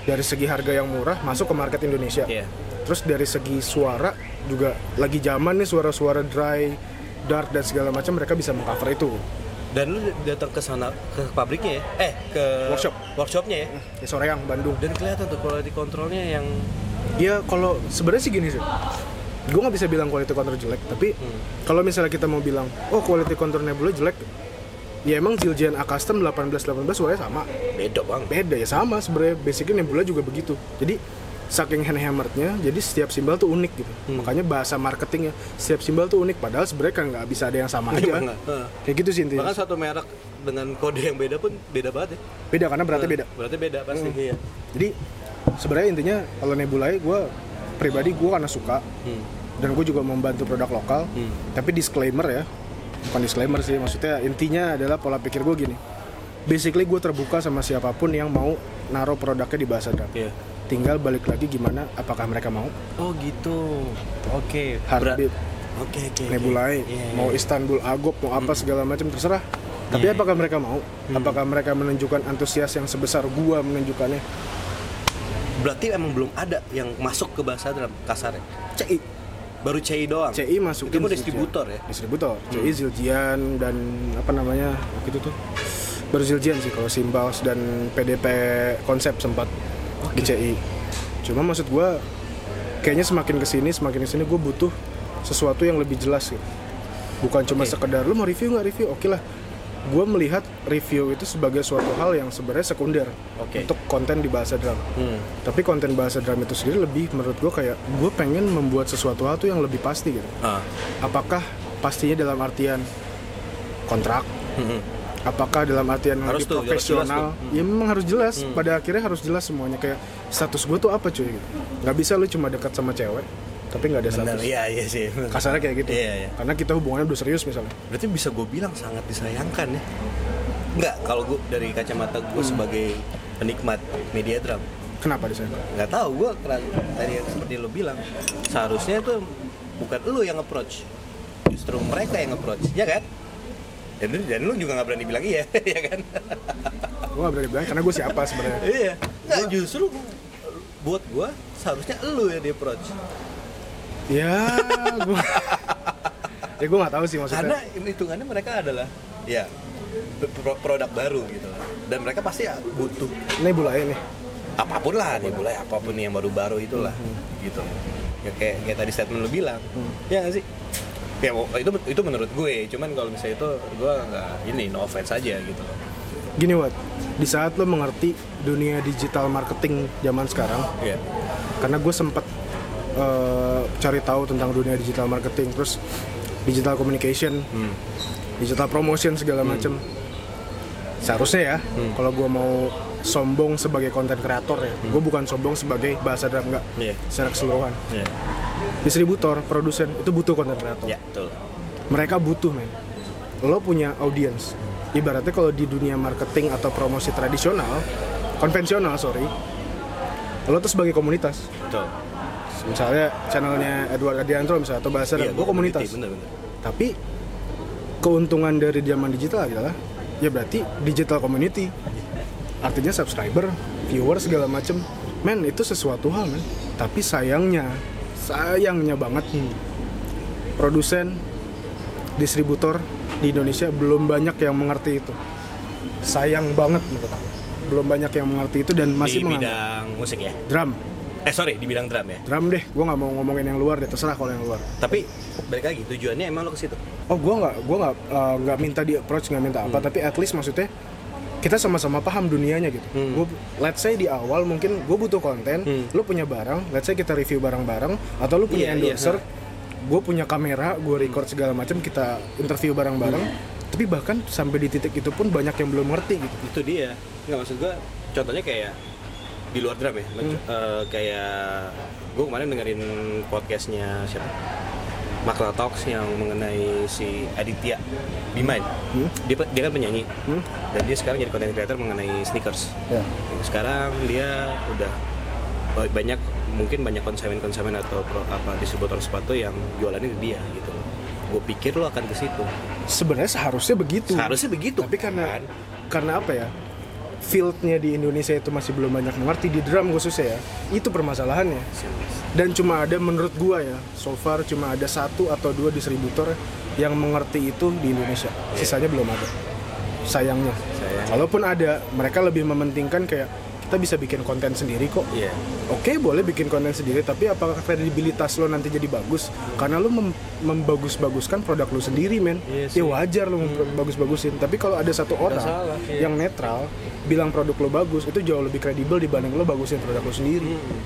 Speaker 2: Dari segi harga yang murah masuk ke market Indonesia.
Speaker 1: Iya.
Speaker 2: Terus dari segi suara juga lagi zaman nih suara-suara dry, dark dan segala macam mereka bisa mengcover itu.
Speaker 1: dan lu datang ke sana ke pabriknya ya eh ke
Speaker 2: Workshop.
Speaker 1: workshopnya ya
Speaker 2: Ya sore yang Bandung.
Speaker 1: dan kelihatan tuh quality controlnya yang
Speaker 2: Ya kalau sebenarnya sih gini sih. Gue nggak bisa bilang quality control jelek, tapi
Speaker 1: Hmm.
Speaker 2: kalau misalnya kita mau bilang, oh quality control Nebula jelek, ya emang Zildjian A Custom 1818 suaranya sama.
Speaker 1: beda banget
Speaker 2: Beda ya sama sebenarnya basicnya Nebula juga begitu. Jadi saking handhammerednya, jadi setiap simbal tuh unik gitu.
Speaker 1: Hmm.
Speaker 2: Makanya bahasa marketingnya setiap simbal tuh unik, padahal sebenarnya kan nggak bisa ada yang sama aja.
Speaker 1: Iya, bener.
Speaker 2: Kayak gitu sih intinya.
Speaker 1: Bahkan satu merek dengan kode yang beda pun beda banget ya.
Speaker 2: Beda karena beratnya beda. Hmm.
Speaker 1: Berarti beda pasti. Iya.
Speaker 2: Jadi sebenarnya intinya kalau Nebulae gue pribadi gue karena suka
Speaker 1: Hmm.
Speaker 2: dan gue juga membantu produk lokal
Speaker 1: Hmm.
Speaker 2: tapi disclaimer ya bukan disclaimer sih maksudnya intinya adalah pola pikir gue gini basically gue terbuka sama siapapun yang mau naruh produknya di bahasa drum
Speaker 1: Iya.
Speaker 2: tinggal balik lagi gimana apakah mereka mau
Speaker 1: Oh gitu. Oke. Berat-
Speaker 2: Heartbeat,
Speaker 1: Oke oke. oke.
Speaker 2: Nebulae,
Speaker 1: Iya, iya. Hmm.
Speaker 2: mau Istanbul Agop, mau apa segala macam terserah. Tapi
Speaker 1: Iya, iya.
Speaker 2: apakah mereka mau? Apakah mereka menunjukkan antusias yang sebesar gua menunjukkannya?
Speaker 1: Berarti emang belum ada yang masuk ke bahasa dalam kasarnya.
Speaker 2: CI,
Speaker 1: Baru CI doang.
Speaker 2: CI
Speaker 1: Itu
Speaker 2: masukin
Speaker 1: pun
Speaker 2: Zildjian.
Speaker 1: distributor ya.
Speaker 2: distributor CI Zildjian dan apa namanya waktu itu tuh baru Zildjian sih kalau Simbaos dan PDP konsep sempat di CI cuma maksud gua kayaknya semakin kesini semakin kesini gue butuh sesuatu yang lebih jelas gitu bukan cuma
Speaker 1: Oke.
Speaker 2: sekedar lu mau review nggak review oke lah gue melihat review itu sebagai suatu hal yang sebenarnya sekunder
Speaker 1: Oke.
Speaker 2: untuk konten di bahasa drum
Speaker 1: Hmm.
Speaker 2: tapi konten bahasa drum itu sendiri lebih menurut gue kayak gue pengen membuat sesuatu hal tuh yang lebih pasti gitu
Speaker 1: Ah.
Speaker 2: apakah pastinya dalam artian kontrak
Speaker 1: Hmm.
Speaker 2: apakah dalam artian
Speaker 1: Harus
Speaker 2: lebih
Speaker 1: tuh, harus
Speaker 2: profesional
Speaker 1: jelas tuh. Mm.
Speaker 2: ya memang harus jelas pada akhirnya harus jelas semuanya kayak status gue tuh apa cuy gitu. nggak bisa lu cuma dekat sama cewek tapi nggak ada
Speaker 1: Benar.
Speaker 2: status
Speaker 1: Iya iya sih. benar.
Speaker 2: kasarnya kayak gitu
Speaker 1: Iya, iya.
Speaker 2: karena kita hubungannya udah serius misalnya
Speaker 1: berarti bisa gue bilang sangat disayangkan ya Enggak, kalau gue dari kacamata gue sebagai penikmat media drum
Speaker 2: kenapa di sana
Speaker 1: nggak tahu gue tadi yang seperti lo bilang seharusnya itu bukan lo yang approach justru mereka yang approach ya kan dan, dan lo juga nggak berani bilang iya [LAUGHS] ya kan
Speaker 2: gue nggak berani bilang karena gue siapa
Speaker 1: [LAUGHS]
Speaker 2: sebenarnya
Speaker 1: iya nggak justru buat gue seharusnya lo yang di approach
Speaker 2: ya gue [LAUGHS] ya gue nggak tahu sih maksudnya
Speaker 1: karena hitungannya mereka adalah ya pro- produk baru gitu dan mereka pasti butuh
Speaker 2: ini bulanya nih
Speaker 1: apapun lah nih mulai apapun
Speaker 3: Hmm.
Speaker 1: yang baru-baru itulah gitu ya kayak kayak tadi statement lu bilang ya nggak sih ya wo- itu itu menurut gue cuman kalau misalnya itu gue nggak ini no offense aja gitu loh
Speaker 2: Gini Wat, di saat lo mengerti dunia digital marketing zaman sekarang,
Speaker 1: Iya.
Speaker 2: karena gue sempet eh, cari tahu tentang dunia digital marketing terus digital communication
Speaker 1: Hmm.
Speaker 2: digital promotion segala macem seharusnya ya
Speaker 1: Hmm.
Speaker 2: kalau gue mau sombong sebagai konten kreator ya gue bukan sombong sebagai bahasa dalam enggak
Speaker 1: Iya.
Speaker 2: secara keseluruhan
Speaker 1: Iya.
Speaker 2: distributor produsen itu butuh konten kreator
Speaker 1: ya betul
Speaker 2: mereka butuh men lo punya audience ibaratnya kalau di dunia marketing atau promosi tradisional konvensional sorry lo tuh sebagai komunitas
Speaker 1: betul
Speaker 2: misalnya channelnya Edward Adiantro misalnya atau bahasa
Speaker 1: Iya,
Speaker 2: gue komunitas
Speaker 1: bener, bener.
Speaker 2: tapi keuntungan dari zaman digital adalah ya berarti digital community artinya subscriber viewer segala macem men itu sesuatu hal men tapi sayangnya sayangnya banget
Speaker 1: Hmm.
Speaker 2: produsen distributor di Indonesia belum banyak yang mengerti itu sayang banget menurut aku. belum banyak yang mengerti itu dan masih
Speaker 1: di
Speaker 2: menganggap
Speaker 1: bidang musik ya
Speaker 2: drum
Speaker 1: eh sorry di bidang drum ya
Speaker 2: drum deh gue nggak mau ngomongin yang luar deh terserah kalau yang luar
Speaker 1: tapi balik lagi tujuannya emang lo ke situ
Speaker 2: oh gue nggak gue nggak uh, nggak minta di approach nggak minta
Speaker 1: Hmm.
Speaker 2: apa tapi at least maksudnya kita sama-sama paham dunianya gitu.
Speaker 1: Hmm.
Speaker 2: Gua, let's say di awal mungkin gue butuh konten, lu punya barang, let's say kita review barang-barang, atau lu punya
Speaker 1: Iya, iya,
Speaker 2: endorser, gue punya kamera, gue record segala macam, kita interview bareng-bareng.
Speaker 1: Hmm.
Speaker 2: Tapi bahkan sampai di titik itu pun banyak yang belum ngerti gitu.
Speaker 1: itu dia nggak maksud gua contohnya kayak di luar drum ya Eh, kayak gue kemarin dengerin podcastnya siapa Makna Talks yang mengenai si Aditya Bimain dia, pe- dia kan penyanyi dan dia sekarang jadi content creator mengenai sneakers
Speaker 2: Ya.
Speaker 1: sekarang dia udah ba- banyak mungkin banyak konsumen-konsumen atau pro- apa distributor sepatu yang jualannya di dia gitu gue pikir lo akan ke situ
Speaker 2: Hmm. Sebenarnya seharusnya begitu.
Speaker 1: seharusnya begitu
Speaker 2: Tapi karena karena apa ya? Fieldnya di Indonesia itu masih belum banyak mengerti di drum khususnya ya. Itu permasalahannya. dan cuma ada menurut gua ya so far cuma ada satu atau dua distributor yang mengerti itu di Indonesia sisanya belum ada sayangnya
Speaker 1: Sayang.
Speaker 2: walaupun ada mereka lebih mementingkan kayak kita bisa bikin konten sendiri kok
Speaker 1: iya
Speaker 2: Oke boleh bikin konten sendiri tapi apakah kredibilitas lo nanti jadi bagus karena lo mem- membagus-baguskan produk lo sendiri men
Speaker 1: Iya sih.
Speaker 2: ya wajar lo membagus-bagusin tapi kalau ada satu orang
Speaker 1: salah, iya.
Speaker 2: yang netral bilang produk lo bagus itu jauh lebih kredibel dibanding lo bagusin produk lo sendiri
Speaker 1: Hmm.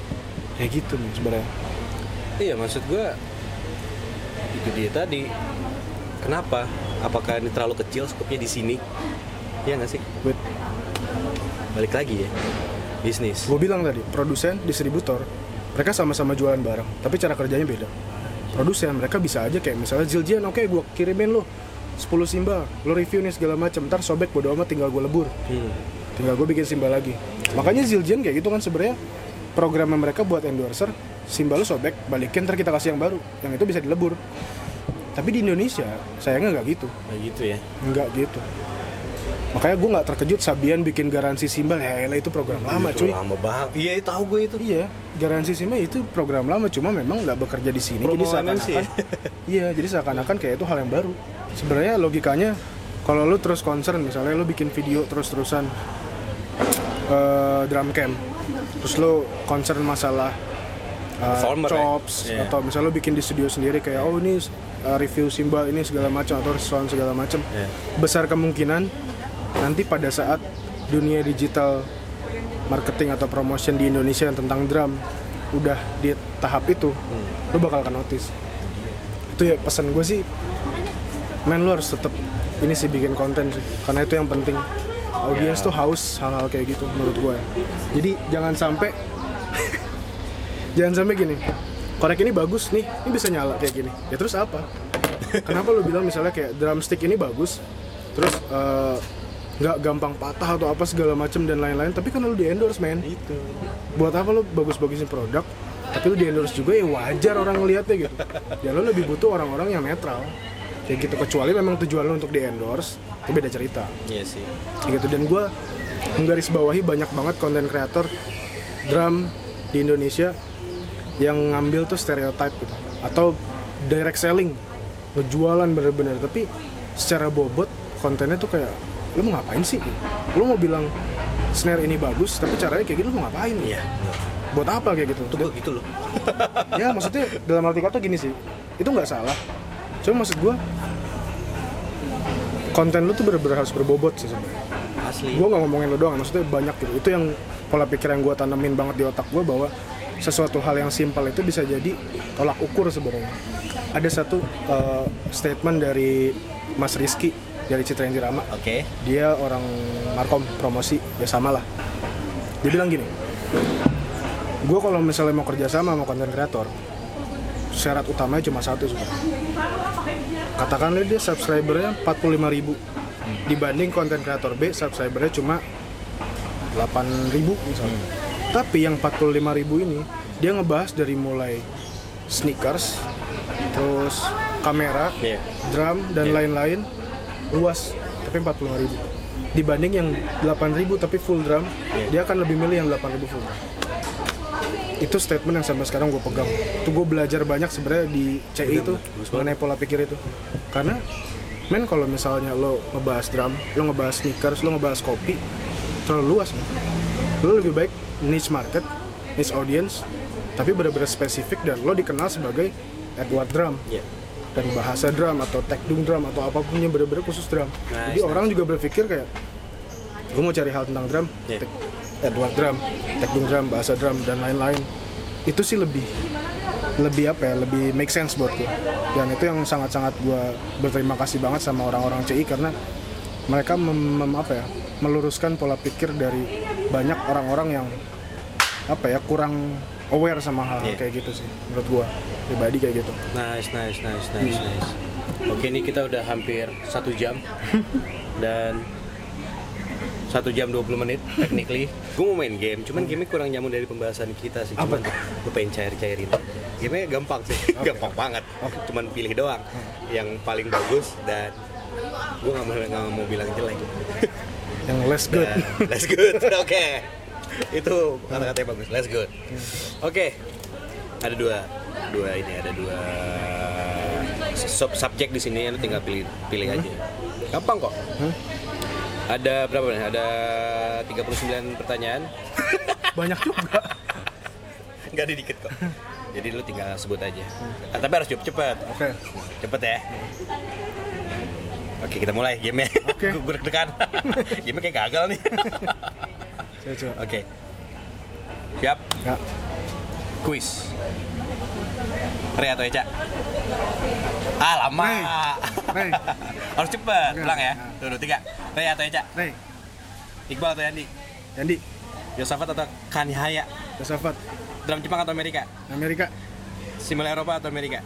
Speaker 2: ya gitu men sebenarnya
Speaker 1: Iya maksud gua itu dia tadi. Kenapa? Apakah ini terlalu kecil skupnya di sini? Iya nggak sih?
Speaker 2: Wait,
Speaker 1: Balik lagi ya bisnis.
Speaker 2: gue bilang tadi, produsen, distributor, mereka sama-sama jualan barang, tapi cara kerjanya beda. Produsen mereka bisa aja kayak misalnya Jiljian, oke gua kirimin lo 10 simbal, lo review nih segala macam, ntar sobek bodo amat tinggal gue lebur,
Speaker 1: Hmm.
Speaker 2: tinggal gue bikin simbal lagi. Makanya Jiljian kayak gitu kan sebenarnya programnya mereka buat endorser, simbal lo sobek, balikin ntar kita kasih yang baru, yang itu bisa dilebur. Tapi di Indonesia sayangnya nggak gitu.
Speaker 1: Nah gitu ya.
Speaker 2: Enggak gitu. Makanya gue nggak terkejut Sabian bikin garansi simbal, ya elah, itu program lama
Speaker 1: Itu
Speaker 2: cuy.
Speaker 1: Lama banget. Iya tahu gue itu.
Speaker 2: Iya, garansi SIM itu program lama cuma memang nggak bekerja di sini.
Speaker 1: Promo
Speaker 2: jadi seakan-akan,
Speaker 1: MNC.
Speaker 2: iya, jadi seakan-akan kayak itu hal yang baru. Sebenarnya logikanya kalau lu terus concern, misalnya lu bikin video terus-terusan eh, drum cam, terus lu concern masalah eh,
Speaker 1: Performer, ya?
Speaker 2: chops
Speaker 1: Iya.
Speaker 2: atau misalnya lu bikin di studio sendiri kayak oh ini eh, review simbal ini segala macam atau sound segala macam,
Speaker 1: Iya.
Speaker 2: besar kemungkinan nanti pada saat dunia digital marketing atau promotion di Indonesia yang tentang drum udah di tahap itu
Speaker 1: Hmm.
Speaker 2: lo bakal akan notice itu ya pesan gue sih men lo harus tetap ini sih bikin konten sih karena itu yang penting audiens tuh haus hal-hal kayak gitu menurut gue ya. jadi jangan sampai [LAUGHS] jangan sampai gini korek ini bagus nih ini bisa nyala kayak gini ya terus apa kenapa lo bilang misalnya kayak drumstick ini bagus terus eh, nggak gampang patah atau apa segala macem dan lain-lain tapi kan lo di endorse men
Speaker 1: Itu.
Speaker 2: buat apa lu bagus-bagusin produk tapi lu di endorse juga ya wajar orang ngelihatnya gitu ya lu lebih butuh orang-orang yang netral kayak gitu kecuali memang tujuan lu untuk di endorse itu beda cerita
Speaker 1: Iya sih.
Speaker 2: kayak gitu dan gue menggarisbawahi banyak banget konten kreator drum di Indonesia yang ngambil tuh stereotype gitu atau direct selling ngejualan bener-bener tapi secara bobot kontennya tuh kayak lu mau ngapain sih lu mau bilang snare ini bagus tapi caranya kayak gitu lu mau ngapain
Speaker 1: Iya.
Speaker 2: buat apa kayak gitu
Speaker 1: Itu gue gitu loh.
Speaker 2: ya maksudnya dalam arti kata gini sih itu nggak salah Cuma maksud gue konten lu tuh bener-bener harus berbobot sih sebenarnya.
Speaker 3: asli
Speaker 1: Iya.
Speaker 2: Gue nggak ngomongin lu doang, maksudnya banyak gitu. Itu yang pola pikir yang gue tanamin banget di otak gue bahwa sesuatu hal yang simpel itu bisa jadi tolak ukur sebenarnya. Ada satu eh, statement dari Mas Rizky dari Citra Indirama
Speaker 3: oke
Speaker 2: dia orang markom promosi ya sama lah dia bilang gini gue kalau misalnya mau kerja sama sama konten kreator syarat utamanya cuma satu sebenarnya katakanlah dia subscribernya 45.000 dibanding konten kreator B subscribernya cuma 8.000 misalnya tapi yang 45.000 ini dia ngebahas dari mulai sneakers terus kamera
Speaker 3: Iya.
Speaker 2: drum dan
Speaker 3: Iya.
Speaker 2: lain-lain luas tapi 40 ribu dibanding yang 8 ribu tapi full drum dia akan lebih milih yang 8 ribu full drum itu statement yang sampai sekarang gue pegang itu gue belajar banyak sebenarnya di CI itu mengenai pola pikir itu karena men kalau misalnya lo ngebahas drum lo ngebahas sneakers lo ngebahas kopi terlalu luas men. lo lebih baik niche market niche audience tapi benar-benar spesifik dan lo dikenal sebagai Edward Drum
Speaker 3: Iya.
Speaker 2: dan bahasa drum atau tekdung drum atau apapun yang bener-bener khusus drum.
Speaker 3: Nah, Nice,
Speaker 2: Jadi orang juga berpikir kayak gue mau cari hal tentang drum,
Speaker 3: Yeah.
Speaker 2: tek- Edward drum, tekdung drum, bahasa drum dan lain-lain. Itu sih lebih lebih apa ya, lebih make sense buat gue. Dan itu yang sangat-sangat gue berterima kasih banget sama orang-orang CI karena mereka mem, mem- apa ya, meluruskan pola pikir dari banyak orang-orang yang apa ya kurang aware sama hal
Speaker 3: Yeah.
Speaker 2: kayak gitu sih menurut gue pribadi kayak gitu.
Speaker 3: Nice, nice, nice, nice, nice. Oke, ini kita udah hampir satu jam dan satu jam 20 menit technically. Gue mau main game, cuman game kurang nyambung dari pembahasan kita sih. Cuman gue pengen cair-cairin. Game gampang sih, gampang banget. Cuman pilih doang yang paling bagus dan gue nggak mau nggak mau bilang jelek.
Speaker 2: Yang less good.
Speaker 3: Dan [LAUGHS] let's good. Oke. Itu kata-kata yang bagus. Let's good. Oke. Ada dua dua ini ada dua sub subjek di sini lu tinggal pilih pilih aja. Gampang kok. Ada berapa nih? Ada 39 pertanyaan.
Speaker 2: banyak juga
Speaker 3: Enggak ada dikit kok. [LAUGHS] Jadi lu tinggal sebut aja. Ah, tapi harus jawab cepat.
Speaker 2: oke
Speaker 3: Cepet ya. Oke, kita mulai game-nya. [LAUGHS]
Speaker 2: Oke.
Speaker 3: Gue deg-degan. game-nya kayak gagal nih. [LAUGHS]
Speaker 2: saya coba
Speaker 3: Oke. Siap.
Speaker 2: ya
Speaker 3: Kuis. Ria atau Eca? Ah, lama.
Speaker 2: Ray. Ray.
Speaker 3: [LAUGHS] Harus cepet.
Speaker 2: Oke.
Speaker 3: Ulang ya.
Speaker 2: Ya.
Speaker 3: Dua, dua, tiga. Ria atau Eca?
Speaker 2: Ray
Speaker 3: Iqbal atau Yandi?
Speaker 2: Yandi
Speaker 3: Yosafat atau Kanihaya?
Speaker 2: Yosafat
Speaker 3: Drum Jepang atau Amerika?
Speaker 2: Amerika
Speaker 3: Simbol Eropa atau Amerika?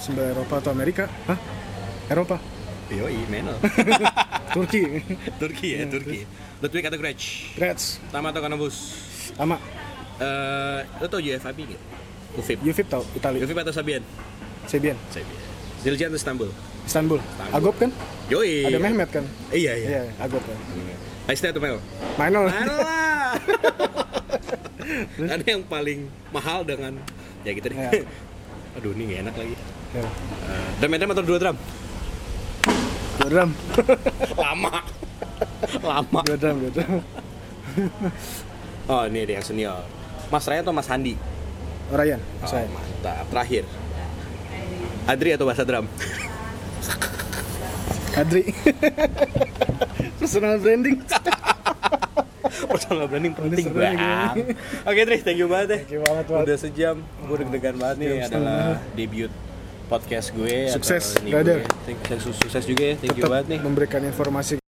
Speaker 2: sembah Eropa atau Amerika Hah? Eropa
Speaker 3: Yoi, meno.
Speaker 2: Turki
Speaker 3: [LAUGHS] Turki ya, Turki. Ludwig atau Gretsch?
Speaker 2: Reds
Speaker 3: Tama atau Kanobus?
Speaker 2: sama
Speaker 3: Eh, lo tau UFIP nggak? Ufip.
Speaker 2: Yufip tau Itali
Speaker 3: Ufip atau Sabian?
Speaker 2: Sebian
Speaker 3: Sabian. Zildjian atau Istanbul?
Speaker 2: Istanbul Agop kan
Speaker 3: Yoi.
Speaker 2: ada Mehmet kan
Speaker 3: Iya, iya.
Speaker 2: iya Agop kan
Speaker 3: Aisyah atau Mel?
Speaker 2: Mainol [LAUGHS]
Speaker 3: Ada [LAUGHS] lah. Ada yang paling mahal dengan ya gitu deh.
Speaker 2: Ya.
Speaker 3: [LAUGHS] Aduh ini gak enak lagi.
Speaker 2: Ya.
Speaker 3: Eh, drum and drum atau dua drum?
Speaker 2: dua drum
Speaker 3: Lama. [LAUGHS] Lama.
Speaker 2: dua drum dua drum
Speaker 3: Oh ini ada yang senior. Mas Raya atau Mas Handi?
Speaker 2: Ryan
Speaker 3: Oh,
Speaker 2: saya
Speaker 3: Mantap. Terakhir. Adri atau Bahasa [LAUGHS] Drum?
Speaker 2: Adri [LAUGHS] personal branding
Speaker 3: Personal Oh, branding penting
Speaker 2: Personal branding.
Speaker 3: banget. [LAUGHS] Oke Adri, thank you banget deh.
Speaker 2: Thank you banget, Wak.
Speaker 3: Udah sejam, gue deg-degan banget nih.
Speaker 2: Sejam
Speaker 3: Adalah debut podcast gue. atau
Speaker 2: Sukses,
Speaker 3: ini
Speaker 2: brother.
Speaker 3: gue. Thank- Sukses, sukses juga ya. Thank you
Speaker 2: tetap
Speaker 3: banget nih.
Speaker 2: memberikan informasi